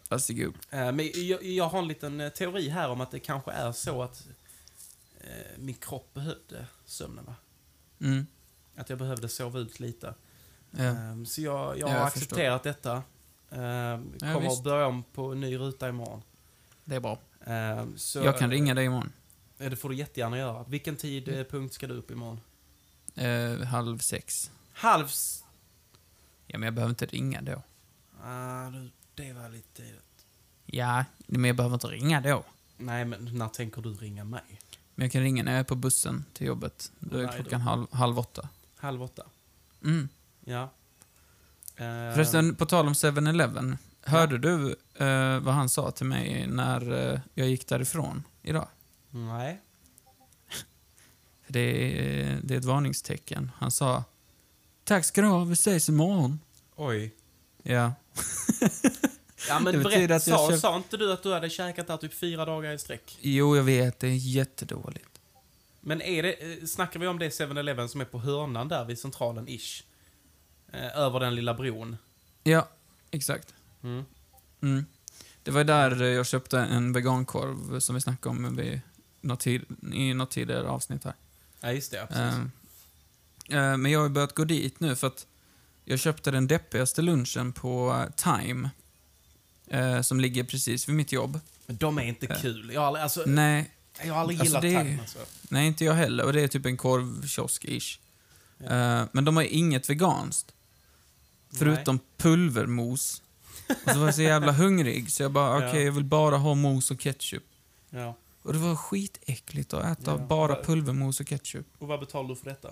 Speaker 1: Varsågod.
Speaker 2: Eh, Men jag, jag har en liten eh, teori här om att det kanske är så att eh, min kropp behövde sömnen. Va?
Speaker 1: Mm.
Speaker 2: Att jag behövde sova ut lite.
Speaker 1: Ja.
Speaker 2: Eh, Så jag, jag
Speaker 1: Ja,
Speaker 2: har
Speaker 1: jag förstår.
Speaker 2: accepterat detta. Eh, Kommer
Speaker 1: visst.
Speaker 2: att börja om på en ny ruta imorgon.
Speaker 1: Det är bra.
Speaker 2: Eh, Så,
Speaker 1: Jag kan ringa Mm. dig imorgon.
Speaker 2: eh, Det får du jättegärna göra. Vilken tid eh, punkt ska du upp imorgon?
Speaker 1: Eh, halv sex.
Speaker 2: Halv... s-
Speaker 1: Ja, men jag behöver inte ringa då.
Speaker 2: Ah, du, det var lite tidigt.
Speaker 1: Ja, men jag behöver inte ringa då.
Speaker 2: Nej, men när tänker du ringa mig?
Speaker 1: Men jag kan ringa när jag är på bussen till jobbet. Då är
Speaker 2: Nej, då.
Speaker 1: klockan halv, halv åtta.
Speaker 2: Halv åtta?
Speaker 1: Mm.
Speaker 2: Ja. Eh,
Speaker 1: Förresten, på tal om 7-Eleven. Hörde du eh, vad han sa till mig när eh, jag gick därifrån idag?
Speaker 2: Nej.
Speaker 1: För Det är, det är ett varningstecken. Han sa Tack ska du ha, vi ses imorgon.
Speaker 2: Oj.
Speaker 1: Ja.
Speaker 2: Ja men
Speaker 1: Det betyder
Speaker 2: berätta,
Speaker 1: att jag
Speaker 2: sa,
Speaker 1: köpt-
Speaker 2: sa inte du att du hade käkat där typ fyra dagar i sträck?
Speaker 1: Jo, jag vet, det är jättedåligt.
Speaker 2: Men är det, eh, snackar vi om det 7-Eleven som är på hörnan där vid centralen ish? Eh, över den lilla bron?
Speaker 1: Ja, exakt.
Speaker 2: Mm.
Speaker 1: Mm. Det var där eh, jag köpte en vegankorv som vi snackade om vid något tid, i något tidigare avsnitt här.
Speaker 2: Ja just det, ja, precis.
Speaker 1: Eh, eh, men jag har ju börjat gå dit nu för att jag köpte den deppigaste lunchen på eh, Time. eh, som ligger precis vid mitt jobb.
Speaker 2: Men de är inte
Speaker 1: eh.
Speaker 2: kul. Jag har aldrig, alltså,
Speaker 1: Nej,
Speaker 2: jag har aldrig
Speaker 1: alltså,
Speaker 2: gillat
Speaker 1: det är-
Speaker 2: Time alltså.
Speaker 1: nej inte jag heller. Och det är typ en korvkiosk-ish.
Speaker 2: Ja.
Speaker 1: Eh, men de har inget veganskt. Förutom pulvermos. Och så var jag så jävla hungrig så jag bara, okej
Speaker 2: Ja.
Speaker 1: jag vill bara ha mos och ketchup.
Speaker 2: Nej. Ja.
Speaker 1: Och det var skitäckligt att äta
Speaker 2: Ja.
Speaker 1: bara pulvermos och ketchup.
Speaker 2: Och vad betalar du för detta?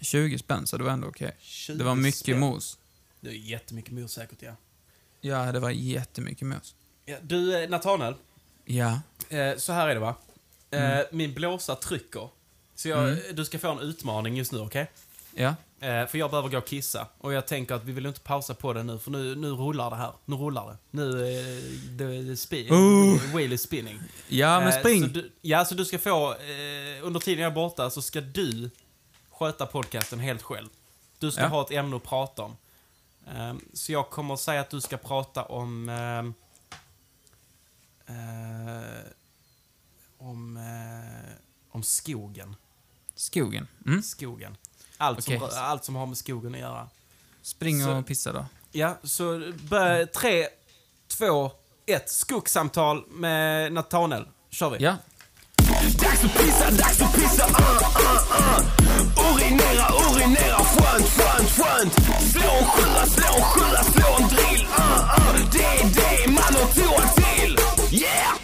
Speaker 1: 20 spänn så det var ändå okej.
Speaker 2: 20
Speaker 1: Det var mycket
Speaker 2: spänn.
Speaker 1: mos.
Speaker 2: Det är jättemycket mos säkert ja.
Speaker 1: Ja, det var jättemycket mos.
Speaker 2: ja du eh, Nathanael,
Speaker 1: Ja.
Speaker 2: eh, så här är det va. Eh,
Speaker 1: Mm.
Speaker 2: Min blåsa trycker. Så jag,
Speaker 1: Mm.
Speaker 2: du ska få en utmaning just nu, okej?
Speaker 1: Ja.
Speaker 2: Eh, för jag behöver gå och kissa. Och jag tänker att vi vill inte pausa på det nu, för nu, nu rullar det här. Nu rullar det. Nu eh, det, det spin,
Speaker 1: Oh.
Speaker 2: wheel is spinning.
Speaker 1: Ja, men
Speaker 2: Eh, Så
Speaker 1: spring.
Speaker 2: du, ja, så du ska få, eh, under tiden jag är borta, så ska du sköta podcasten helt själv. Du ska
Speaker 1: Ja.
Speaker 2: ha ett ämne att prata om. Eh, så jag kommer säga att du ska prata om... ehm, eh, om, eh, om skogen.
Speaker 1: Skogen. Mm.
Speaker 2: Skogen. Allt,
Speaker 1: Okej.
Speaker 2: som, rör- allt som har med skogen att göra.
Speaker 1: Spring
Speaker 2: Så-
Speaker 1: och pissa då.
Speaker 2: Ja, så börja, tre, två, ett. Skuggsamtal med Nathaniel. Kör vi.
Speaker 1: Ja.
Speaker 3: Dags att pissa, dags att pissa, uh, uh, uh. Urinera, urinera, skönt, skönt, skönt. Slå en sjua, slå en sjua, slå en drill, uh, uh. Det är det man har toa till, yeah!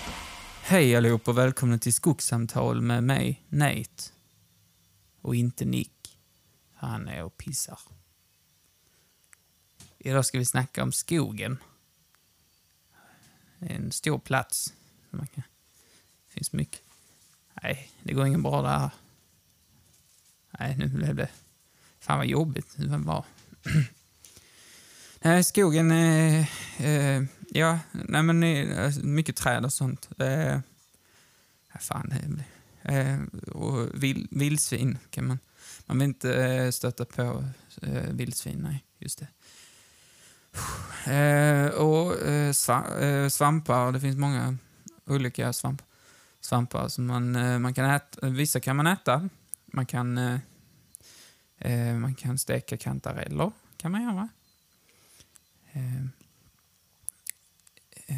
Speaker 1: Hej allihop och välkomna till skogssamtal med mig, Nate. Och inte Nick. Han är och pissar. Idag ska vi snacka om skogen. Det är en stor plats. Man kan- Det finns mycket. Nej, det går ingen bra där. Nej, nu blev det... Fan vad jobbigt det var. Nej, skogen... Eh, eh, ja, nej men eh, alltså, mycket träd och sånt. Eh, ja, fan, det blir... Eh, och vil, vildsvin kan man... Man vill inte eh, stöta på eh, vildsvin, nej. Just det. Eh, och eh, sva, eh, svampar, det finns många olika svamp, svampar som man, eh, man kan äta. Vissa kan man äta. Man kan, eh, eh, man kan steka kantareller, kan man göra. Eh, eh,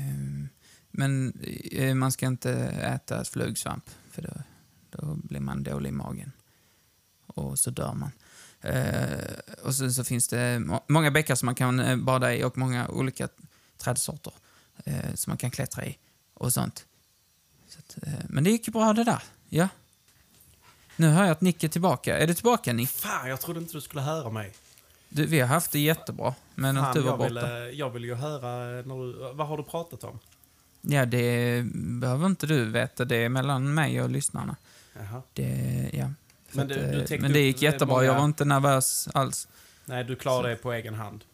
Speaker 1: men eh, man ska inte äta flugsvamp, för då, då blir man dålig i magen. Och så dör man. Eh, och sen så finns det må- många bäckar som man kan eh, bada i och många olika trädsorter eh, som man kan klättra i och sånt. Så att, eh, men det gick ju bra det där. Ja. Nu hör jag att Nick är tillbaka. Är du tillbaka Nick?
Speaker 2: Fan, jag trodde inte du skulle höra mig.
Speaker 1: Du, vi har haft det jättebra, men att du
Speaker 2: Fan,
Speaker 1: var
Speaker 2: jag,
Speaker 1: borta.
Speaker 2: vill, eh, jag vill ju höra eh, när du, Vad har du pratat om?
Speaker 1: Ja, det behöver inte du veta. Det är mellan mig och lyssnarna.
Speaker 2: Jaha.
Speaker 1: Det, ja. För
Speaker 2: Men du-
Speaker 1: att,
Speaker 2: du
Speaker 1: eh,
Speaker 2: täckte
Speaker 1: men det
Speaker 2: upp
Speaker 1: gick jättebra.
Speaker 2: många-
Speaker 1: Jag var inte nervös alls.
Speaker 2: Nej, du klarar det på egen hand.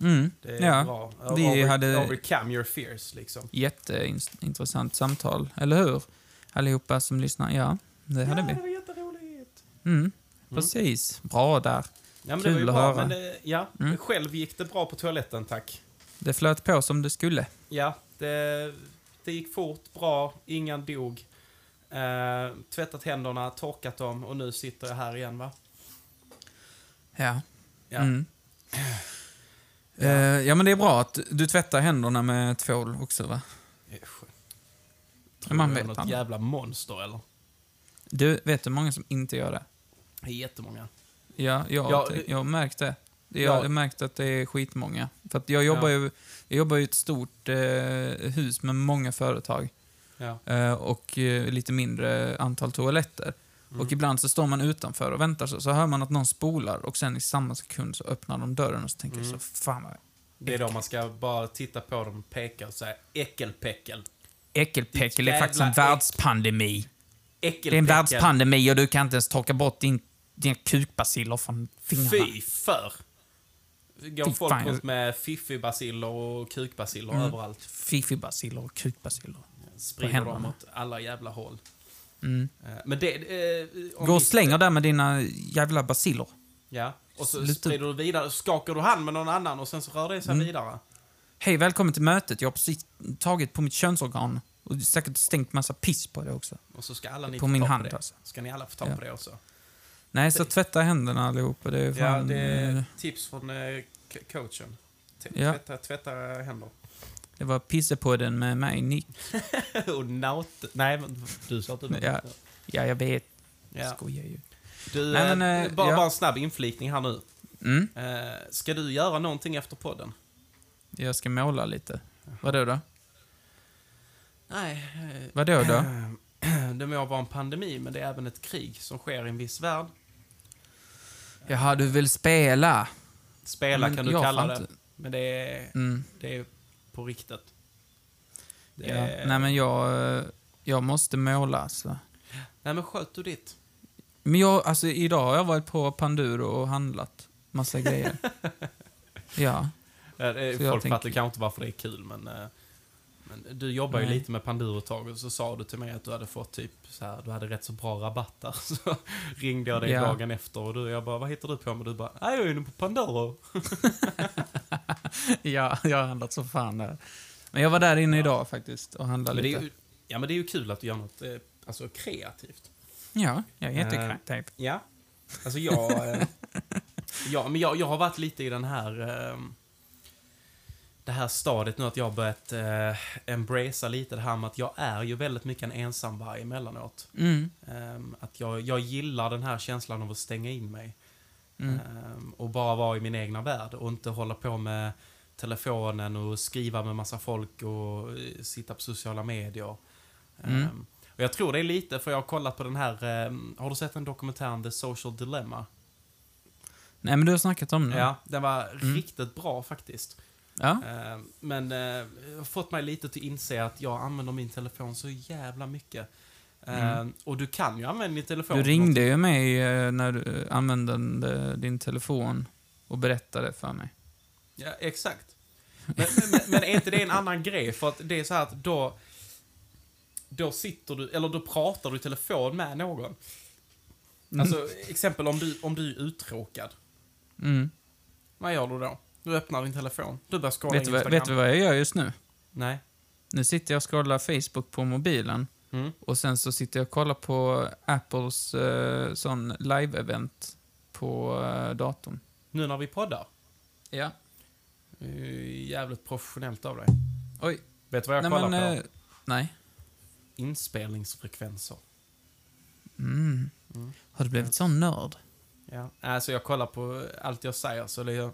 Speaker 1: Mm.
Speaker 2: Det är
Speaker 1: ja.
Speaker 2: bra.
Speaker 1: vi
Speaker 2: Over,
Speaker 1: hade-
Speaker 2: Overcome your fears, liksom.
Speaker 1: Jätteintressant samtal, eller hur? Allihopa som lyssnar. Ja, det hade
Speaker 2: ja,
Speaker 1: vi.
Speaker 2: det var jätteroligt.
Speaker 1: Mm. Precis. Bra där.
Speaker 2: Ja, men det
Speaker 1: Kul
Speaker 2: var ju
Speaker 1: att
Speaker 2: bra.
Speaker 1: höra.
Speaker 2: Men det, ja,
Speaker 1: Mm.
Speaker 2: själv gick det bra på toaletten, tack.
Speaker 1: Det flöt på som det skulle.
Speaker 2: Ja, det, det gick fort, bra, ingen dog. Eh, tvättat händerna, torkat dem och nu sitter jag här igen, va?
Speaker 1: Ja.
Speaker 2: Ja.
Speaker 1: Mm. Eh, ja, men det är bra att du tvättar händerna med tvål också, va?
Speaker 2: Usch.
Speaker 1: Men man vet
Speaker 2: Tror du jag är något
Speaker 1: aldrig.
Speaker 2: jävla monster, eller?
Speaker 1: Du, vet du hur många som inte gör det?
Speaker 2: Det är jättemånga.
Speaker 1: Ja, jag,
Speaker 2: Ja,
Speaker 1: jag,
Speaker 2: det-
Speaker 1: har märkt det. Jag
Speaker 2: Ja.
Speaker 1: har märkt att det är skitmånga. För att jag jobbar
Speaker 2: Ja.
Speaker 1: ju jag jobbar i ett stort eh, hus med många företag
Speaker 2: Ja.
Speaker 1: eh, och eh, lite mindre antal toaletter.
Speaker 2: Mm.
Speaker 1: Och ibland så står man utanför och väntar så, så hör man att någon spolar och sen i samma sekund så öppnar de dörren och så tänker jag
Speaker 2: Mm.
Speaker 1: så fan vad
Speaker 2: Det är då man ska bara titta på dem, peka och säga äckelpäckel.
Speaker 1: äckelpäckel, det
Speaker 2: Ditt
Speaker 1: är faktiskt en
Speaker 2: jävla äck-
Speaker 1: världspandemi.
Speaker 2: äckelpäckel.
Speaker 1: Det är en världspandemi och du kan inte ens torka bort din, dina kukbaciller från fingrarna.
Speaker 2: Fy för! Går
Speaker 1: Fy
Speaker 2: folk
Speaker 1: fan. Mm.
Speaker 2: runt med fiffibaciller och kukbaciller överallt.
Speaker 1: Fifi-baciller och kukbaciller.
Speaker 2: Sprider
Speaker 1: händerna.
Speaker 2: dem åt alla jävla håll.
Speaker 1: Mm.
Speaker 2: Eh, Men det... eh, om
Speaker 1: Gå och
Speaker 2: vi-
Speaker 1: slänger där med dina jävla baciller.
Speaker 2: Ja, och så
Speaker 1: Sluta. Mm.
Speaker 2: sprider du vidare. Skakar du hand med någon annan och sen så rör det sig vidare.
Speaker 1: Hej, välkommen till mötet. Jag har precis tagit på mitt könsorgan och säkert stänkt massa piss på det också.
Speaker 2: Och så ska alla ni
Speaker 1: På
Speaker 2: få
Speaker 1: min
Speaker 2: ta
Speaker 1: hand,
Speaker 2: på det.
Speaker 1: alltså.
Speaker 2: Ska ni alla få ta
Speaker 1: Ja.
Speaker 2: på det också.
Speaker 1: Nej, så tvätta händerna allihopa. Det är fan...
Speaker 2: Ja, det är
Speaker 1: eh,
Speaker 2: tips från eh, c- coachen. T-
Speaker 1: Ja.
Speaker 2: Tvätta, tvätta händer.
Speaker 1: det var pissepodden med mig, Nick.
Speaker 2: och naut... Nej, men du sa att du var
Speaker 1: Ja, ja jag vet.
Speaker 2: Ja.
Speaker 1: Skojar ju.
Speaker 2: Du,
Speaker 1: Nej,
Speaker 2: eh,
Speaker 1: men, eh,
Speaker 2: bara,
Speaker 1: ja.
Speaker 2: bara en snabb inflikning här nu.
Speaker 1: Mm,
Speaker 2: Eh, ska du göra någonting efter podden?
Speaker 1: jag ska måla lite. Vadå
Speaker 2: Eh,
Speaker 1: då?
Speaker 2: Nej. eh,
Speaker 1: Vadå då?
Speaker 2: Det må vara en pandemi, men det är även ett krig som sker i en viss värld.
Speaker 1: Jaha, du vill spela?
Speaker 2: Spela
Speaker 1: Men
Speaker 2: kan du
Speaker 1: jag
Speaker 2: kalla
Speaker 1: fan
Speaker 2: det,
Speaker 1: inte-
Speaker 2: men det är,
Speaker 1: Mm.
Speaker 2: det är på riktigt. Det
Speaker 1: Ja.
Speaker 2: är-
Speaker 1: Nej, men jag... eh, Jag måste måla, så.
Speaker 2: nej, men sköt du ditt.
Speaker 1: Men jag, alltså idag har jag varit på Panduro och handlat massa grejer. ja.
Speaker 2: Ja, det är-
Speaker 1: Så jag
Speaker 2: Folk fattar
Speaker 1: tänker-
Speaker 2: kanske inte varför det är kul, men... eh, men du jobbar ju
Speaker 1: Nej.
Speaker 2: lite med Panduro ett tag och så sa du till mig att du hade fått typ så här, du hade rätt så bra rabatter. Så ringde jag dig
Speaker 1: Ja.
Speaker 2: dagen efter och du, jag bara, vad hittar du på? Och du bara, nej jag är inne på Panduro.
Speaker 1: ja, jag har handlat så fan där. Men jag var där inne idag faktiskt och handlade
Speaker 2: Men det
Speaker 1: lite.
Speaker 2: är ju, ja men det är ju kul att du gör något eh, alltså, kreativt.
Speaker 1: Ja, jag är
Speaker 2: Eh,
Speaker 1: jättekreativ.
Speaker 2: Ja. Alltså jag... eh, ja, men jag, jag har varit lite i den här... eh, Det här stadiet nu att jag har börjat eh, embracea lite det här med att jag är ju väldigt mycket en ensamvarg emellanåt.
Speaker 1: Mm,
Speaker 2: Ehm, att jag, jag gillar den här känslan av att stänga in mig.
Speaker 1: mm.
Speaker 2: Ehm, och bara vara i min egna värld och inte hålla på med telefonen och skriva med massa folk och eh, sitta på sociala medier.
Speaker 1: Mm.
Speaker 2: Ehm, och jag tror det är lite, för jag har kollat på den här, ehm, har du sett den dokumentären The Social Dilemma?
Speaker 1: Nej, men du har snackat om det.
Speaker 2: Ja, den var
Speaker 1: Mm.
Speaker 2: riktigt bra faktiskt.
Speaker 1: Ja.
Speaker 2: Ehm, men eh, jag har fått mig lite att inse att jag använder min telefon så jävla mycket. Ehm, Och du kan ju använda din telefon.
Speaker 1: Mm. Du
Speaker 2: till något
Speaker 1: ringde ju mig eh, när du eh, använde din telefon och berättade för mig.
Speaker 2: Ja, exakt. Men, men, men är inte det en annan grej? För att det är så här att då... Då sitter du, eller då pratar du i telefon med någon. Alltså, exempel om du, om du är uttråkad.
Speaker 1: Mm.
Speaker 2: Vad gör du då? Du öppnar din telefon. Du börjar scrolla
Speaker 1: Vet, du vad,
Speaker 2: Instagram.
Speaker 1: vet du vad jag gör just nu?
Speaker 2: Nej.
Speaker 1: Nu sitter jag och scrollar Facebook på mobilen
Speaker 2: Mm.
Speaker 1: och sen så sitter jag och kollar på Apples eh, sån live-event på eh, datorn.
Speaker 2: Nu när vi poddar.
Speaker 1: Ja.
Speaker 2: Det är ju Jävligt professionellt av dig.
Speaker 1: Oj.
Speaker 2: Vet du vad jag
Speaker 1: Nej,
Speaker 2: kollar
Speaker 1: men...
Speaker 2: på?
Speaker 1: eh, nej.
Speaker 2: Inspelningsfrekvenser.
Speaker 1: Mm. Har du blivit sån nörd?
Speaker 2: Ja. Alltså jag kollar på allt jag säger så det gör...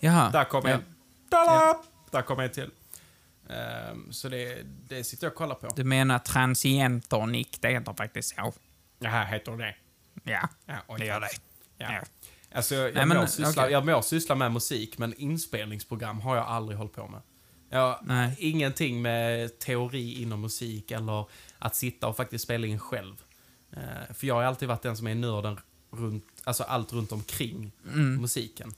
Speaker 1: Jaha.
Speaker 2: Där kom
Speaker 1: Ja.
Speaker 2: en. Ja. Där kom en till. Ehm, så det, det sitter jag och kollar på.
Speaker 1: Du menar transienter, Nick? Det heter faktiskt så.
Speaker 2: Det här heter det.
Speaker 1: Ja.
Speaker 2: Ja, oj.
Speaker 1: Det gör det.
Speaker 2: Ja.
Speaker 1: Ja.
Speaker 2: Alltså, jag,
Speaker 1: Nej,
Speaker 2: må
Speaker 1: men,
Speaker 2: syssla,
Speaker 1: okej.
Speaker 2: jag må syssla med musik, men inspelningsprogram har jag aldrig hållit på med. Jag,
Speaker 1: Nej.
Speaker 2: Ingenting med teori inom musik eller att sitta och faktiskt spela in själv. Eh, för jag har alltid varit den som är nörden runt, alltså allt runt omkring
Speaker 1: Mm.
Speaker 2: musiken.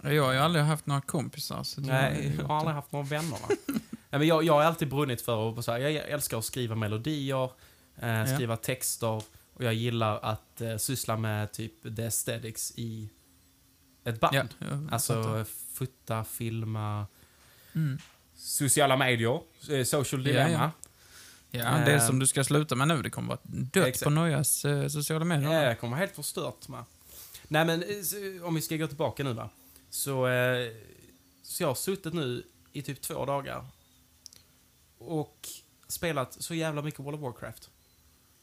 Speaker 1: Jag har ju aldrig haft några kompisar. Så det
Speaker 2: Nej, jag har aldrig haft några vänner. Va? Nej, men jag, jag har alltid brunnit för att, så här, jag älskar att skriva melodier, eh, skriva texter och jag gillar att eh, syssla med typ the aesthetics i ett band.
Speaker 1: Ja, jag fattar.
Speaker 2: alltså fota, filma,
Speaker 1: Mm.
Speaker 2: sociala medier, eh, social
Speaker 1: Ja,
Speaker 2: dilemma.
Speaker 1: ja. Ja, det
Speaker 2: Ehm.
Speaker 1: som du ska sluta med nu, det kommer vara dött
Speaker 2: Exakt.
Speaker 1: på Nojas eh, sociala medier.
Speaker 2: Ja, jag kommer vara helt förstört med. Nej men, eh, s- om vi ska gå tillbaka nu va. Så, eh, så jag har suttit nu i typ två dagar. Och spelat så jävla mycket World of Warcraft.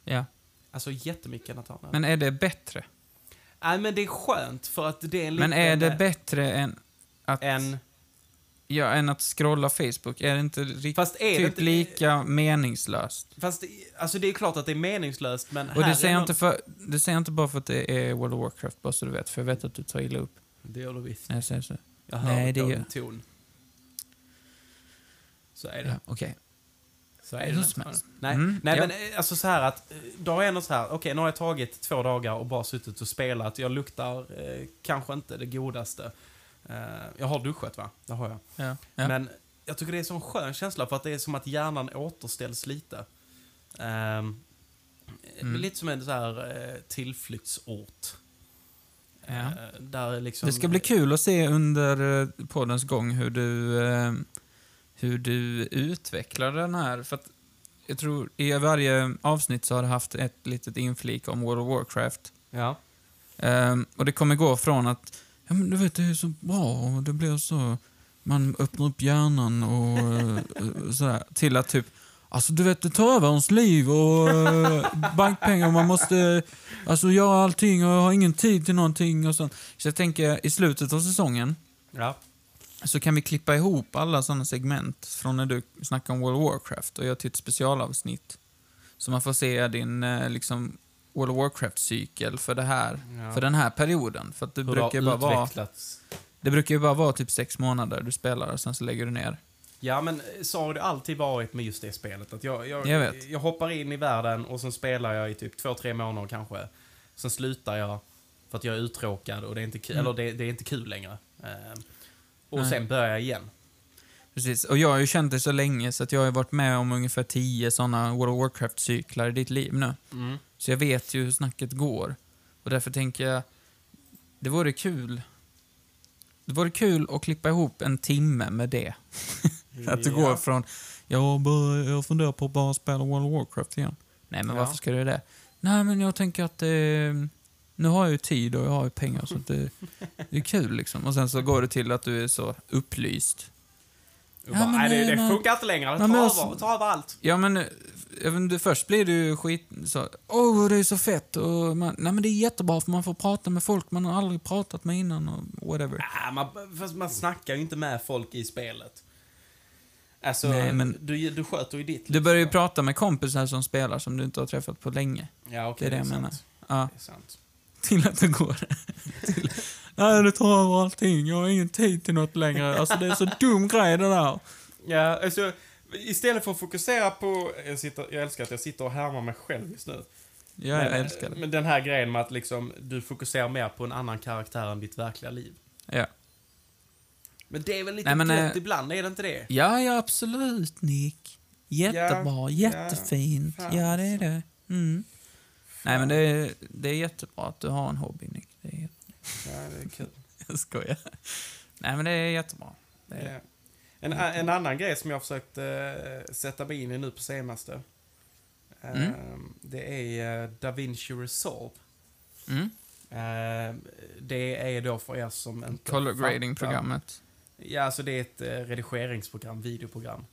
Speaker 1: Ja.
Speaker 2: Alltså jättemycket Natana. Men,
Speaker 1: Men är det bättre?
Speaker 2: Nej men det är skönt för att det är en
Speaker 1: Men är
Speaker 2: liten,
Speaker 1: det
Speaker 2: eh,
Speaker 1: bättre än att,
Speaker 2: En,
Speaker 1: ja, än att scrolla Facebook? Är det inte riktigt
Speaker 2: Fast är det
Speaker 1: typ
Speaker 2: inte-
Speaker 1: lika meningslöst?
Speaker 2: fast det- alltså det är klart att det är meningslöst men
Speaker 1: Och
Speaker 2: här
Speaker 1: det säger,
Speaker 2: är
Speaker 1: jag
Speaker 2: någon-
Speaker 1: inte för, det säger jag inte bara för att det är World of Warcraft, bara så du vet. För jag vet att du tar illa upp
Speaker 2: Det gör du visst.
Speaker 1: när jag säger så.
Speaker 2: Jag hör
Speaker 1: Nej,
Speaker 2: det
Speaker 1: det
Speaker 2: på
Speaker 1: gör-
Speaker 2: din ton. Så är det.
Speaker 1: Ja, okej.
Speaker 2: Så
Speaker 1: Hur som helst.
Speaker 2: Nej,
Speaker 1: Mm,
Speaker 2: nej
Speaker 1: ja.
Speaker 2: men eh, alltså så här att, eh, då är jag något så här, okej nu har jag tagit två dagar och bara suttit och spelat. Jag luktar eh, kanske inte det godaste. Eh, jag har duschat va? Det har jag.
Speaker 1: Ja, ja.
Speaker 2: Men jag tycker det är en sån skön känsla för att det är som att hjärnan återställs lite. Ehm,
Speaker 1: Mm.
Speaker 2: Lite som en så här eh, tillflyktsort.
Speaker 1: Ja.
Speaker 2: Eh, där liksom,
Speaker 1: Det ska bli kul att se under eh, poddens gång hur du, eh, hur du utvecklar den här. För att jag tror i varje avsnitt så har du haft ett litet inflik om World of Warcraft.
Speaker 2: Ja.
Speaker 1: Eh, och det kommer gå från att, ja men du vet det är så bra och det blir så, man öppnar upp hjärnan och eh, eh, sådär. Till att typ, alltså du vet det tar över ens liv och eh, bankpengar och man måste eh, alltså göra allting och jag har ingen tid till någonting och sånt. Så jag tänker i slutet av säsongen
Speaker 2: ja.
Speaker 1: så kan vi klippa ihop alla sådana segment från när du snackar om World of Warcraft och jag till ett specialavsnitt. Så man får se din eh, liksom, World of Warcraft-cykel för, det här,
Speaker 2: Ja.
Speaker 1: för den här perioden. För att det,
Speaker 2: Hur det
Speaker 1: brukar ju bara
Speaker 2: har
Speaker 1: vara,
Speaker 2: utvecklats.
Speaker 1: det brukar ju bara vara typ sex månader du spelar och sen så lägger du ner.
Speaker 2: Ja, men eh, så har det alltid varit med just det spelet. Att jag, jag,
Speaker 1: Jag vet.
Speaker 2: jag hoppar in i världen och sen spelar jag i typ två, tre månader kanske. Sen slutar jag för att jag är uttråkad och det är inte kul, eller det, det är inte kul längre. Ehm, och
Speaker 1: Mm. Nej.
Speaker 2: sen börjar jag igen.
Speaker 1: Precis, och jag har ju känt det så länge så att jag har ju varit med om ungefär tio sådana World of Warcraft-cyklar i ditt liv nu.
Speaker 2: Mm.
Speaker 1: Så jag vet ju hur snacket går. Och därför tänker jag, det vore kul. Det vore kul att klippa ihop en timme med det. att det
Speaker 2: Ja.
Speaker 1: går från, jag, bör, jag funderar på att bara spela World of Warcraft igen. Nej, men
Speaker 2: Ja.
Speaker 1: varför ska du det? Nej, men jag tänker att eh, nu har jag ju tid och jag har ju pengar så att det, det är kul liksom. Och sen så går det till att du är så upplyst.
Speaker 2: Och
Speaker 1: Ja,
Speaker 2: bara,
Speaker 1: men
Speaker 2: nej,
Speaker 1: nej,
Speaker 2: det, det
Speaker 1: men-
Speaker 2: funkar inte längre. Ta,
Speaker 1: men jag-
Speaker 2: över, ta över allt.
Speaker 1: Ja men, eh, jag vet inte, först blir du ju skit... Så, Åh, det är så fett och man, Nej men det är jättebra för man får prata med folk man har aldrig pratat med innan och whatever.
Speaker 2: Ah, man, fast man snackar ju inte med folk i spelet. Alltså,
Speaker 1: Nej, men-
Speaker 2: du, du sköter ju ditt.
Speaker 1: Du börjar ju prata med kompisar som spelar som du inte har träffat på länge.
Speaker 2: liksom. Ja,
Speaker 1: Det
Speaker 2: okej,
Speaker 1: är det jag
Speaker 2: sant.
Speaker 1: menar. Ja,
Speaker 2: Det är sant.
Speaker 1: till att det går. till, nej, det tar över allting. Jag har ingen tid till något längre. Alltså det är så dum grej det där.
Speaker 2: Ja, alltså, istället för att fokusera på... Jag, sitter, jag älskar att jag sitter och härmar mig själv just nu.
Speaker 1: Ja, jag älskar det.
Speaker 2: Men den här grejen med att liksom, du fokuserar mer på en annan karaktär än ditt verkliga liv.
Speaker 1: Ja.
Speaker 2: Men det är väl lite
Speaker 1: Nej, men,
Speaker 2: gött
Speaker 1: eh,
Speaker 2: ibland, är det inte det?
Speaker 1: ja, ja absolut Nick. Jättebra,
Speaker 2: Ja,
Speaker 1: jättefint.
Speaker 2: ja,
Speaker 1: Ja,
Speaker 2: fan, alltså.
Speaker 1: det är det. Mm. Nej men det är, det är jättebra att du har en hobby Nick. Det är,
Speaker 2: Ja, det är kul.
Speaker 1: jag skojar. Nej men det är jättebra. Det är,
Speaker 2: Ja. En, a- en annan grej som jag har försökt eh, sätta mig in i nu på senaste. eh, Det är eh, Da Vinci Resolve.
Speaker 1: mm.
Speaker 2: Eh, det är då för er som inte
Speaker 1: Color
Speaker 2: fattar.
Speaker 1: grading-programmet.
Speaker 2: Ja, alltså det är ett eh, redigeringsprogram, videoprogram.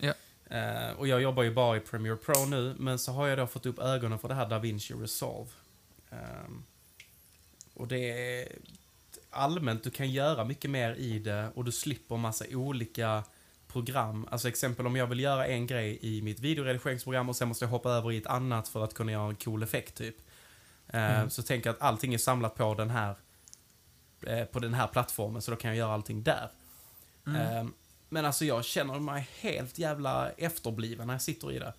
Speaker 1: Ja.
Speaker 2: Eh, och jag jobbar ju bara i Premiere Pro nu, men så har jag då fått upp ögonen för det här Da Vinci Resolve. Ehm, och det är allmänt, du kan göra mycket mer i det och du slipper massa olika program. Alltså exempel om jag vill göra en grej i mitt videoredigeringsprogram och sen måste jag hoppa över i ett annat för att kunna göra en cool effekt typ. Eh,
Speaker 1: Mm.
Speaker 2: Så tänker jag att allting är samlat på den här eh, på den här plattformen så då kan jag göra allting där.
Speaker 1: Mm.
Speaker 2: Eh, Men alltså jag känner mig helt jävla efterbliven när jag sitter i det.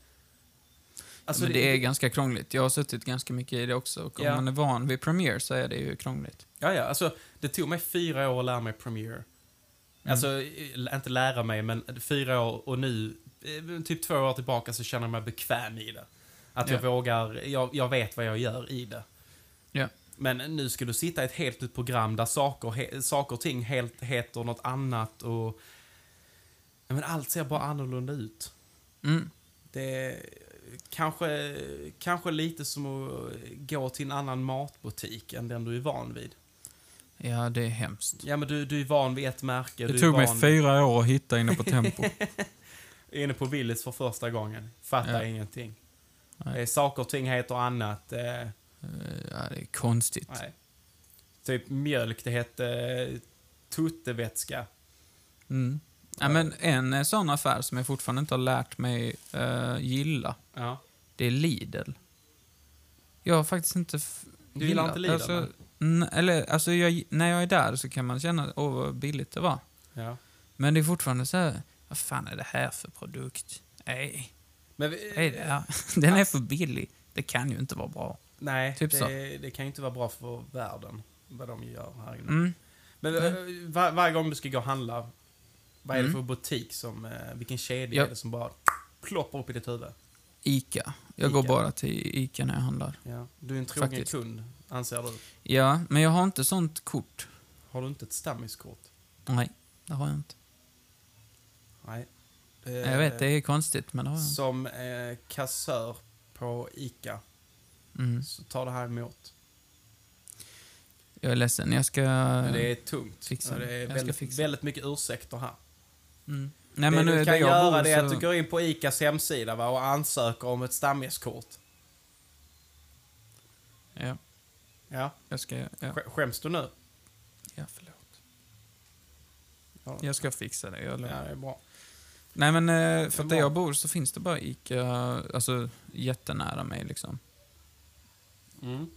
Speaker 2: Alltså,
Speaker 1: men det är ganska krångligt. Jag har suttit ganska mycket i det också. Och om
Speaker 2: Ja.
Speaker 1: man är van vid Premiere så är det ju krångligt.
Speaker 2: Ja, ja, alltså det tog mig fyra år att lära mig Premiere. Alltså, eh, inte lära mig, men fyra år och nu, eh, typ två år tillbaka så känner jag mig bekväm i det. Att jag
Speaker 1: Ja.
Speaker 2: vågar, jag, jag vet vad jag gör i det.
Speaker 1: Ja.
Speaker 2: Men nu ska du sitta i ett helt nytt program där saker, he, saker och ting helt heter något annat och... Ja, men allt ser bara annorlunda ut.
Speaker 1: Mm.
Speaker 2: Det är kanske, kanske lite som att gå till en annan matbutik än den du är van vid.
Speaker 1: Ja, det är hemskt.
Speaker 2: Ja, men du, du är van vid ett märke.
Speaker 1: Det
Speaker 2: du
Speaker 1: tog
Speaker 2: är
Speaker 1: mig
Speaker 2: van,
Speaker 1: fyra år att hitta inne på Tempo.
Speaker 2: inne på Willys för första gången. Fattar
Speaker 1: Ja.
Speaker 2: ingenting.
Speaker 1: Nej.
Speaker 2: Eh, saker och ting heter annat. Eh,
Speaker 1: Eh, ja, det är konstigt.
Speaker 2: nej. Typ mjölk, det hette eh, tuttevätska.
Speaker 1: Mm. Ja, men en eh, sån affär som jag fortfarande inte har lärt mig eh, gilla,
Speaker 2: Ja.
Speaker 1: det är Lidl. Jag har faktiskt inte... f-
Speaker 2: Du gillar inte Lidl,
Speaker 1: Alltså, n- eller, alltså jag, när jag är där så kan man känna, åh vad billigt det var.
Speaker 2: ja.
Speaker 1: Men det är fortfarande så här, vad fan är det här för produkt? Nej,
Speaker 2: Men,
Speaker 1: vad är det här? Den är för billig. Det kan ju inte vara bra.
Speaker 2: Nej,
Speaker 1: Typ så.
Speaker 2: det, det kan ju inte vara bra för världen, vad de gör här inne.
Speaker 1: Mm.
Speaker 2: Men eh, var, varje gång du ska gå och handla, vad är det
Speaker 1: Mm.
Speaker 2: för butik som, eh, vilken kedja
Speaker 1: Ja.
Speaker 2: är det som bara ploppar upp i ditt huvud?
Speaker 1: Ica. Jag går
Speaker 2: Ica.
Speaker 1: bara till Ica när jag handlar.
Speaker 2: Ja. Du är en trogen
Speaker 1: Faktiskt.
Speaker 2: kund, anser du.
Speaker 1: Ja, men jag har inte sånt kort.
Speaker 2: Har du inte ett stammiskort?
Speaker 1: Nej, det har jag inte.
Speaker 2: Nej. Eh,
Speaker 1: Jag vet, det är konstigt, men det har jag inte.
Speaker 2: Som eh, kassör på ICA
Speaker 1: Mm.
Speaker 2: så tar det här emot.
Speaker 1: Jag är ledsen, jag ska...
Speaker 2: Men det är tungt.
Speaker 1: Fixa
Speaker 2: Och det
Speaker 1: det.
Speaker 2: är
Speaker 1: Jag ska
Speaker 2: väldigt,
Speaker 1: fixa.
Speaker 2: väldigt mycket ursäkter här.
Speaker 1: Mm. Nej, men nu
Speaker 2: det du
Speaker 1: är
Speaker 2: kan
Speaker 1: det jag
Speaker 2: göra
Speaker 1: bor
Speaker 2: det är att
Speaker 1: så...
Speaker 2: du går in på ICAs hemsida va, och ansöker om ett stammiskort.
Speaker 1: Ja,
Speaker 2: Ja.
Speaker 1: jag ska... Ja,
Speaker 2: Sk- Skäms du nu?
Speaker 1: ja förlåt.
Speaker 2: Ja.
Speaker 1: Jag ska fixa det, jag
Speaker 2: Ja, det
Speaker 1: lovar.
Speaker 2: är bra.
Speaker 1: Nej men eh, för
Speaker 2: Men
Speaker 1: att där
Speaker 2: var-
Speaker 1: jag bor så finns det bara Ica, alltså jättenära mig liksom.
Speaker 2: Mm.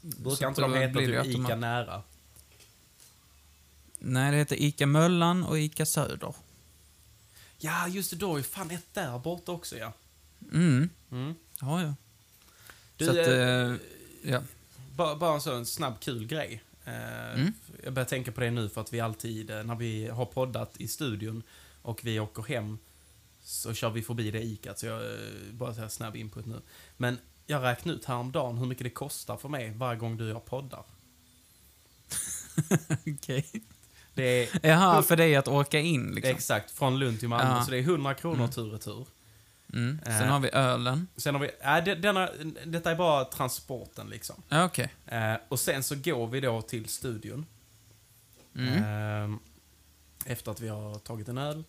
Speaker 1: Så
Speaker 2: Brukar inte
Speaker 1: då
Speaker 2: de heta
Speaker 1: blir det
Speaker 2: typ
Speaker 1: automat-
Speaker 2: ICA nära?
Speaker 1: Nej, det heter Ica Möllan och Ica Söder.
Speaker 2: Ja, just det. Då är ju fan ett där borta också ja.
Speaker 1: Mm,
Speaker 2: Mm.
Speaker 1: det har jag.
Speaker 2: Du,
Speaker 1: så att,
Speaker 2: eh,
Speaker 1: eh, Ja.
Speaker 2: Bara, bara en sån snabb kul grej. Eh,
Speaker 1: Mm.
Speaker 2: Jag börjar tänka på det nu för att vi alltid, eh, när vi har poddat i studion och vi åker hem, så kör vi förbi det ikat. Så jag, eh, bara så här snabb input nu. Men jag räknade ut häromdagen hur mycket det kostar för mig varje gång du och jag poddar.
Speaker 1: Okej.
Speaker 2: Det är,
Speaker 1: Jaha, för dig att åka in
Speaker 2: det är
Speaker 1: liksom.
Speaker 2: exakt från Lund till Malmö,
Speaker 1: Ja.
Speaker 2: så det är 100 kronor tur och tur.
Speaker 1: Mm. Sen
Speaker 2: Eh.
Speaker 1: har vi ölen.
Speaker 2: Sen har vi, äh, det, denna, detta är bara transporten liksom.
Speaker 1: Ja, Okej.
Speaker 2: Eh, och sen så går vi då till studion.
Speaker 1: Mm.
Speaker 2: Ehm, efter att vi har tagit en öl.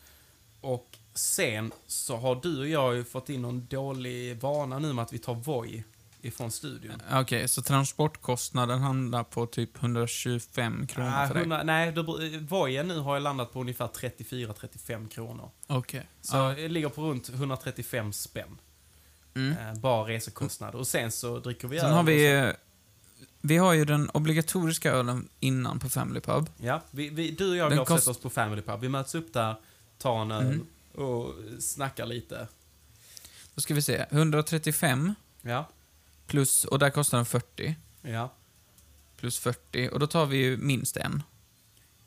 Speaker 2: Och sen så har du och jag ju fått in någon dålig vana nu med att vi tar Voi ifrån studion.
Speaker 1: Okej, så transportkostnaden handlar på typ 125 kronor
Speaker 2: Ah,
Speaker 1: för dig?
Speaker 2: 100 nej, du, Voien nu har jag landat på ungefär 34-35 kronor.
Speaker 1: Okej.
Speaker 2: Så jag ligger på runt 135 spänn.
Speaker 1: Mm.
Speaker 2: Eh, bara resekostnader. Och sen så dricker vi
Speaker 1: Sen
Speaker 2: öl
Speaker 1: har
Speaker 2: och
Speaker 1: vi... eh, Vi har ju den obligatoriska ölen innan på Family Pub.
Speaker 2: Ja, vi, vi, du och jag
Speaker 1: Den
Speaker 2: går och
Speaker 1: kost-
Speaker 2: sätter oss på Family Pub. Vi möts upp där, tar en öl
Speaker 1: Mhm.
Speaker 2: och snackar lite.
Speaker 1: Då ska vi se. 135
Speaker 2: Ja,
Speaker 1: plus, och där kostar den 40.
Speaker 2: ja.
Speaker 1: Plus 40, och då tar vi ju minst en.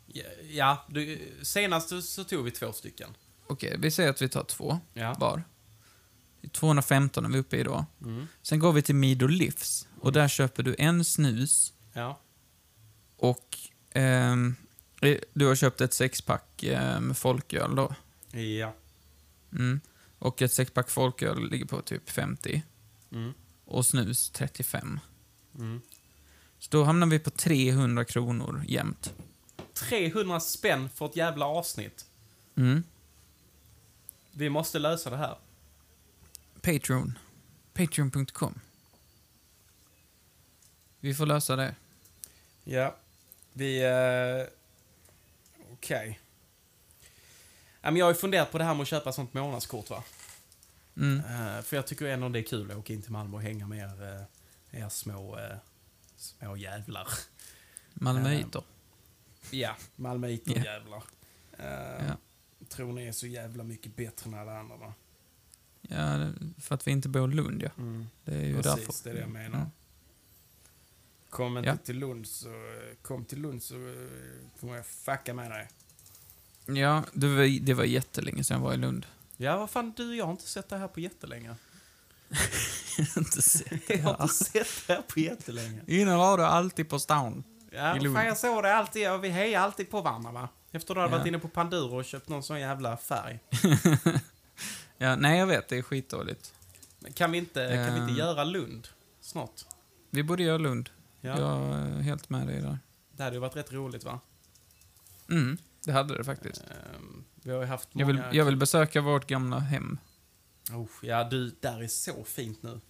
Speaker 2: Ja, Ja, du, senast så- så tog vi två stycken.
Speaker 1: Okej, vi säger att vi tar två
Speaker 2: Ja.
Speaker 1: var. 215 är vi uppe i då.
Speaker 2: Mm.
Speaker 1: Sen går vi till Mido Livs och där köper du en snus
Speaker 2: Ja.
Speaker 1: och ehm, eh, du har köpt ett sexpack eh, med folköl då.
Speaker 2: Ja.
Speaker 1: Mm. Och ett sexpack folköl ligger på typ 50
Speaker 2: Mm.
Speaker 1: och snus 35.
Speaker 2: Mm.
Speaker 1: Så då hamnar vi på 300 kronor jämt.
Speaker 2: 300 spänn för ett jävla avsnitt.
Speaker 1: Mm.
Speaker 2: Vi måste lösa det här.
Speaker 1: Patreon. Patreon.com. Vi får lösa det.
Speaker 2: Ja. Vi... Eh, Okej. Ja, men Jag har ju funderat på det här med att köpa sånt månadskort, va?
Speaker 1: Mm.
Speaker 2: Eh, för jag tycker ändå det är kul att åka in till Malmö och hänga med er, eh, er små, eh, små jävlar.
Speaker 1: Malmöiter.
Speaker 2: Ja, malmöiter
Speaker 1: Ja.
Speaker 2: jävlar. Eh,
Speaker 1: Ja.
Speaker 2: Tror ni är så jävla mycket bättre än alla andra, va?
Speaker 1: Ja, det- för att vi inte bor i Lund, ja.
Speaker 2: Mm.
Speaker 1: Det är ju
Speaker 2: Precis,
Speaker 1: därför.
Speaker 2: det är det jag menar.
Speaker 1: Mm.
Speaker 2: Kom inte
Speaker 1: Ja.
Speaker 2: till Lund så... eh, Kom till Lund så eh, kommer jag fucka med dig.
Speaker 1: Ja, det var, det var jättelänge sedan jag var i Lund.
Speaker 2: Ja, vad fan du, jag har inte sett det här på jättelänge.
Speaker 1: inte sett
Speaker 2: Jag har inte sett det här på jättelänge.
Speaker 1: Innan var du alltid på stan.
Speaker 2: Ja,
Speaker 1: I Lund.
Speaker 2: fan jag såg det alltid, och vi hejar alltid på varandra va? Efter att du hade
Speaker 1: Ja.
Speaker 2: varit inne på Panduro och köpt någon sån jävla färg.
Speaker 1: Ja, nej, jag vet. Det är skitdåligt.
Speaker 2: Men Kan vi inte, kan vi
Speaker 1: Ehm.
Speaker 2: inte göra Lund snart?
Speaker 1: Vi borde göra Lund.
Speaker 2: Ja.
Speaker 1: Jag är helt med dig där.
Speaker 2: Det hade ju varit rätt roligt va?
Speaker 1: Mm, det hade det faktiskt.
Speaker 2: Ehm, vi har ju haft
Speaker 1: Jag
Speaker 2: många...
Speaker 1: vill, jag vill besöka vårt gamla hem.
Speaker 2: Oh, ja, du, där är så fint nu.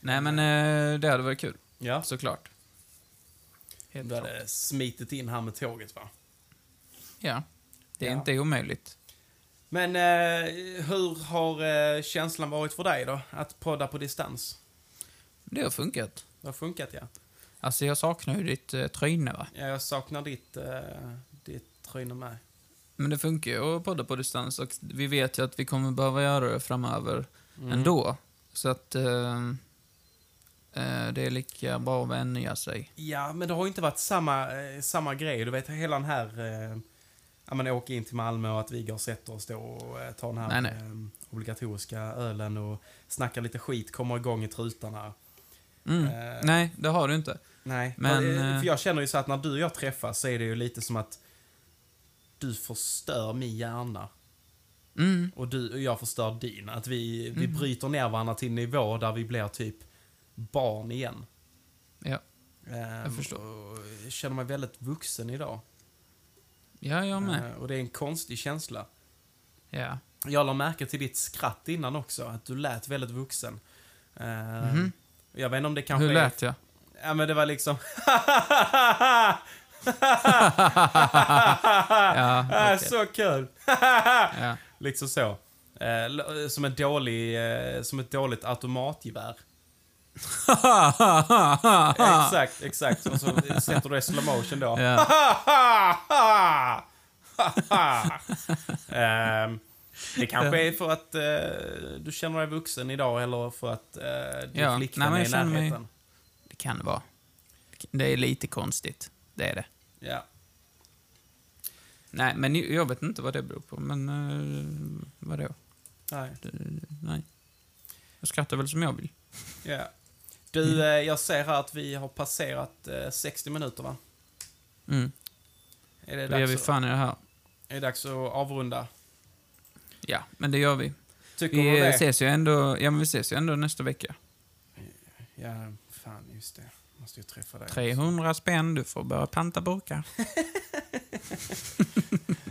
Speaker 1: Nej, men eh, det hade varit kul,
Speaker 2: Ja.
Speaker 1: såklart. Helt
Speaker 2: Du
Speaker 1: klart.
Speaker 2: hade smitit in här med tåget va?
Speaker 1: Ja, det är
Speaker 2: Ja.
Speaker 1: inte omöjligt.
Speaker 2: Men eh, hur har eh, känslan varit för dig då? Att podda på distans?
Speaker 1: Det har funkat.
Speaker 2: Det har funkat ja.
Speaker 1: Alltså, jag saknar ju ditt eh, tryne, va?
Speaker 2: Ja, Jag saknar ditt, eh, ditt tryne med.
Speaker 1: Men det funkar ju att podda på distans och vi vet ju att vi kommer behöva göra det framöver
Speaker 2: Mm.
Speaker 1: ändå. Så att eh, eh, det är lika bra att vänja sig.
Speaker 2: Ja, men det har ju inte varit samma, eh, samma grej. Du vet hela den här... Eh, ja, men åka in till Malmö och att vi går och sätter oss då och eh, tar den här
Speaker 1: Nej, nej.
Speaker 2: Eh, obligatoriska ölen och snackar lite skit, kommer igång i trutarna.
Speaker 1: Mm.
Speaker 2: Eh,
Speaker 1: Nej, det har du inte.
Speaker 2: Nej,
Speaker 1: Men,
Speaker 2: men,
Speaker 1: eh,
Speaker 2: för jag känner ju så att när du och jag träffas så är det ju lite som att du förstör min hjärna.
Speaker 1: Mm.
Speaker 2: Och, du, och jag förstör din. Att vi, vi bryter ner varandra till en nivå där vi blir typ barn igen.
Speaker 1: Ja.
Speaker 2: Ehm,
Speaker 1: Jag förstår.
Speaker 2: och jag känner mig väldigt vuxen idag.
Speaker 1: ja, jag med.
Speaker 2: Ehm, och det är en konstig känsla.
Speaker 1: Ja.
Speaker 2: Jag la märke till ditt skratt innan också, att du lät väldigt vuxen. Ehm,
Speaker 1: Mhm.
Speaker 2: Jag vet inte om det kanske
Speaker 1: Hur
Speaker 2: är-
Speaker 1: lät jag?
Speaker 2: Ja men det var liksom...
Speaker 1: Ja,
Speaker 2: Ah,
Speaker 1: okej.
Speaker 2: Så kul!
Speaker 1: ja.
Speaker 2: liksom så. Eh, l- som, en dålig, eh, som ett dåligt automatgevär. Exakt, exakt. Och så sätter du det i slow motion då.
Speaker 1: Ah. Ja.
Speaker 2: Ehm, det kanske är för att eh, du känner dig vuxen idag eller för att eh, din
Speaker 1: Ja, nej,
Speaker 2: flickvän
Speaker 1: men
Speaker 2: är
Speaker 1: jag
Speaker 2: i
Speaker 1: känner mig-
Speaker 2: närheten.
Speaker 1: Det kan det vara. Det är lite konstigt. Det är det.
Speaker 2: Ja.
Speaker 1: Nej, men jag vet inte vad det beror på. Men eh, vadå?
Speaker 2: Nej.
Speaker 1: Det- Nej. Jag skrattar väl som jag vill.
Speaker 2: Ja.
Speaker 1: Mm.
Speaker 2: Du, eh, jag ser här att vi har passerat eh, 60 minuter, va?
Speaker 1: Mm.
Speaker 2: Är det,
Speaker 1: Då ger
Speaker 2: dags
Speaker 1: vi
Speaker 2: att,
Speaker 1: fan i det här.
Speaker 2: är det dags att avrunda?
Speaker 1: Ja, men det gör vi.
Speaker 2: Tycker du
Speaker 1: Vi eh,
Speaker 2: det?
Speaker 1: ses ju ändå, ja, men vi ses ju ändå nästa vecka.
Speaker 2: Ja, fan, just det. Måste ju träffa dig.
Speaker 1: 300 spänn, du får börja panta burkar.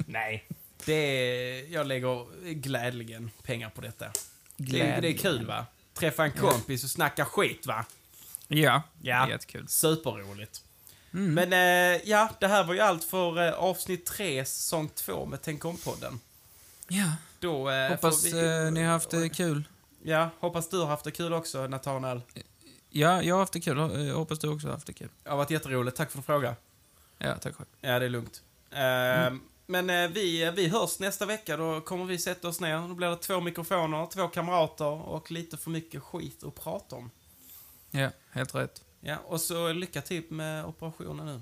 Speaker 2: Nej. Det är, jag lägger glädligen pengar på detta. Det, det är
Speaker 1: Glädligen.
Speaker 2: kul, va? Träffa en kompis och snacka skit, va?
Speaker 1: Ja,
Speaker 2: Ja.
Speaker 1: det är jättekul.
Speaker 2: Superroligt.
Speaker 1: Mm.
Speaker 2: Men eh, ja, det här var ju allt för eh, avsnitt 3, säsong 2 med Tänk om-podden.
Speaker 1: Ja,
Speaker 2: Då eh,
Speaker 1: hoppas
Speaker 2: får vi-
Speaker 1: eh, ni har haft det kul.
Speaker 2: Ja, hoppas du har haft det kul också, Nathanael.
Speaker 1: Ja, jag har haft det kul. Eh, Hoppas du också har haft det kul.
Speaker 2: Det har varit jätteroligt. Tack för frågan.
Speaker 1: Ja, tack själv.
Speaker 2: Ja, det är lugnt. Eh,
Speaker 1: Mm.
Speaker 2: Men eh, vi, vi hörs nästa vecka. Då kommer vi sätta oss ner. Då blir det två mikrofoner, två kamrater och lite för mycket skit att prata om.
Speaker 1: Ja, helt rätt.
Speaker 2: Ja, och så lycka till med operationen nu.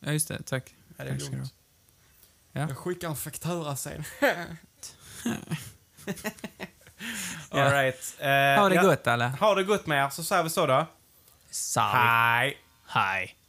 Speaker 1: Ja, just det. Tack.
Speaker 2: Ja, det är
Speaker 1: Tack ska
Speaker 2: lugnt.
Speaker 1: du ha. Ja.
Speaker 2: Jag skickar en faktura sen.
Speaker 1: Ja.
Speaker 2: Alright.
Speaker 1: Ha det gott alla.
Speaker 2: Ha det gott med er, så säger vi så då.
Speaker 1: Sorry.
Speaker 2: Hej!
Speaker 1: Hej.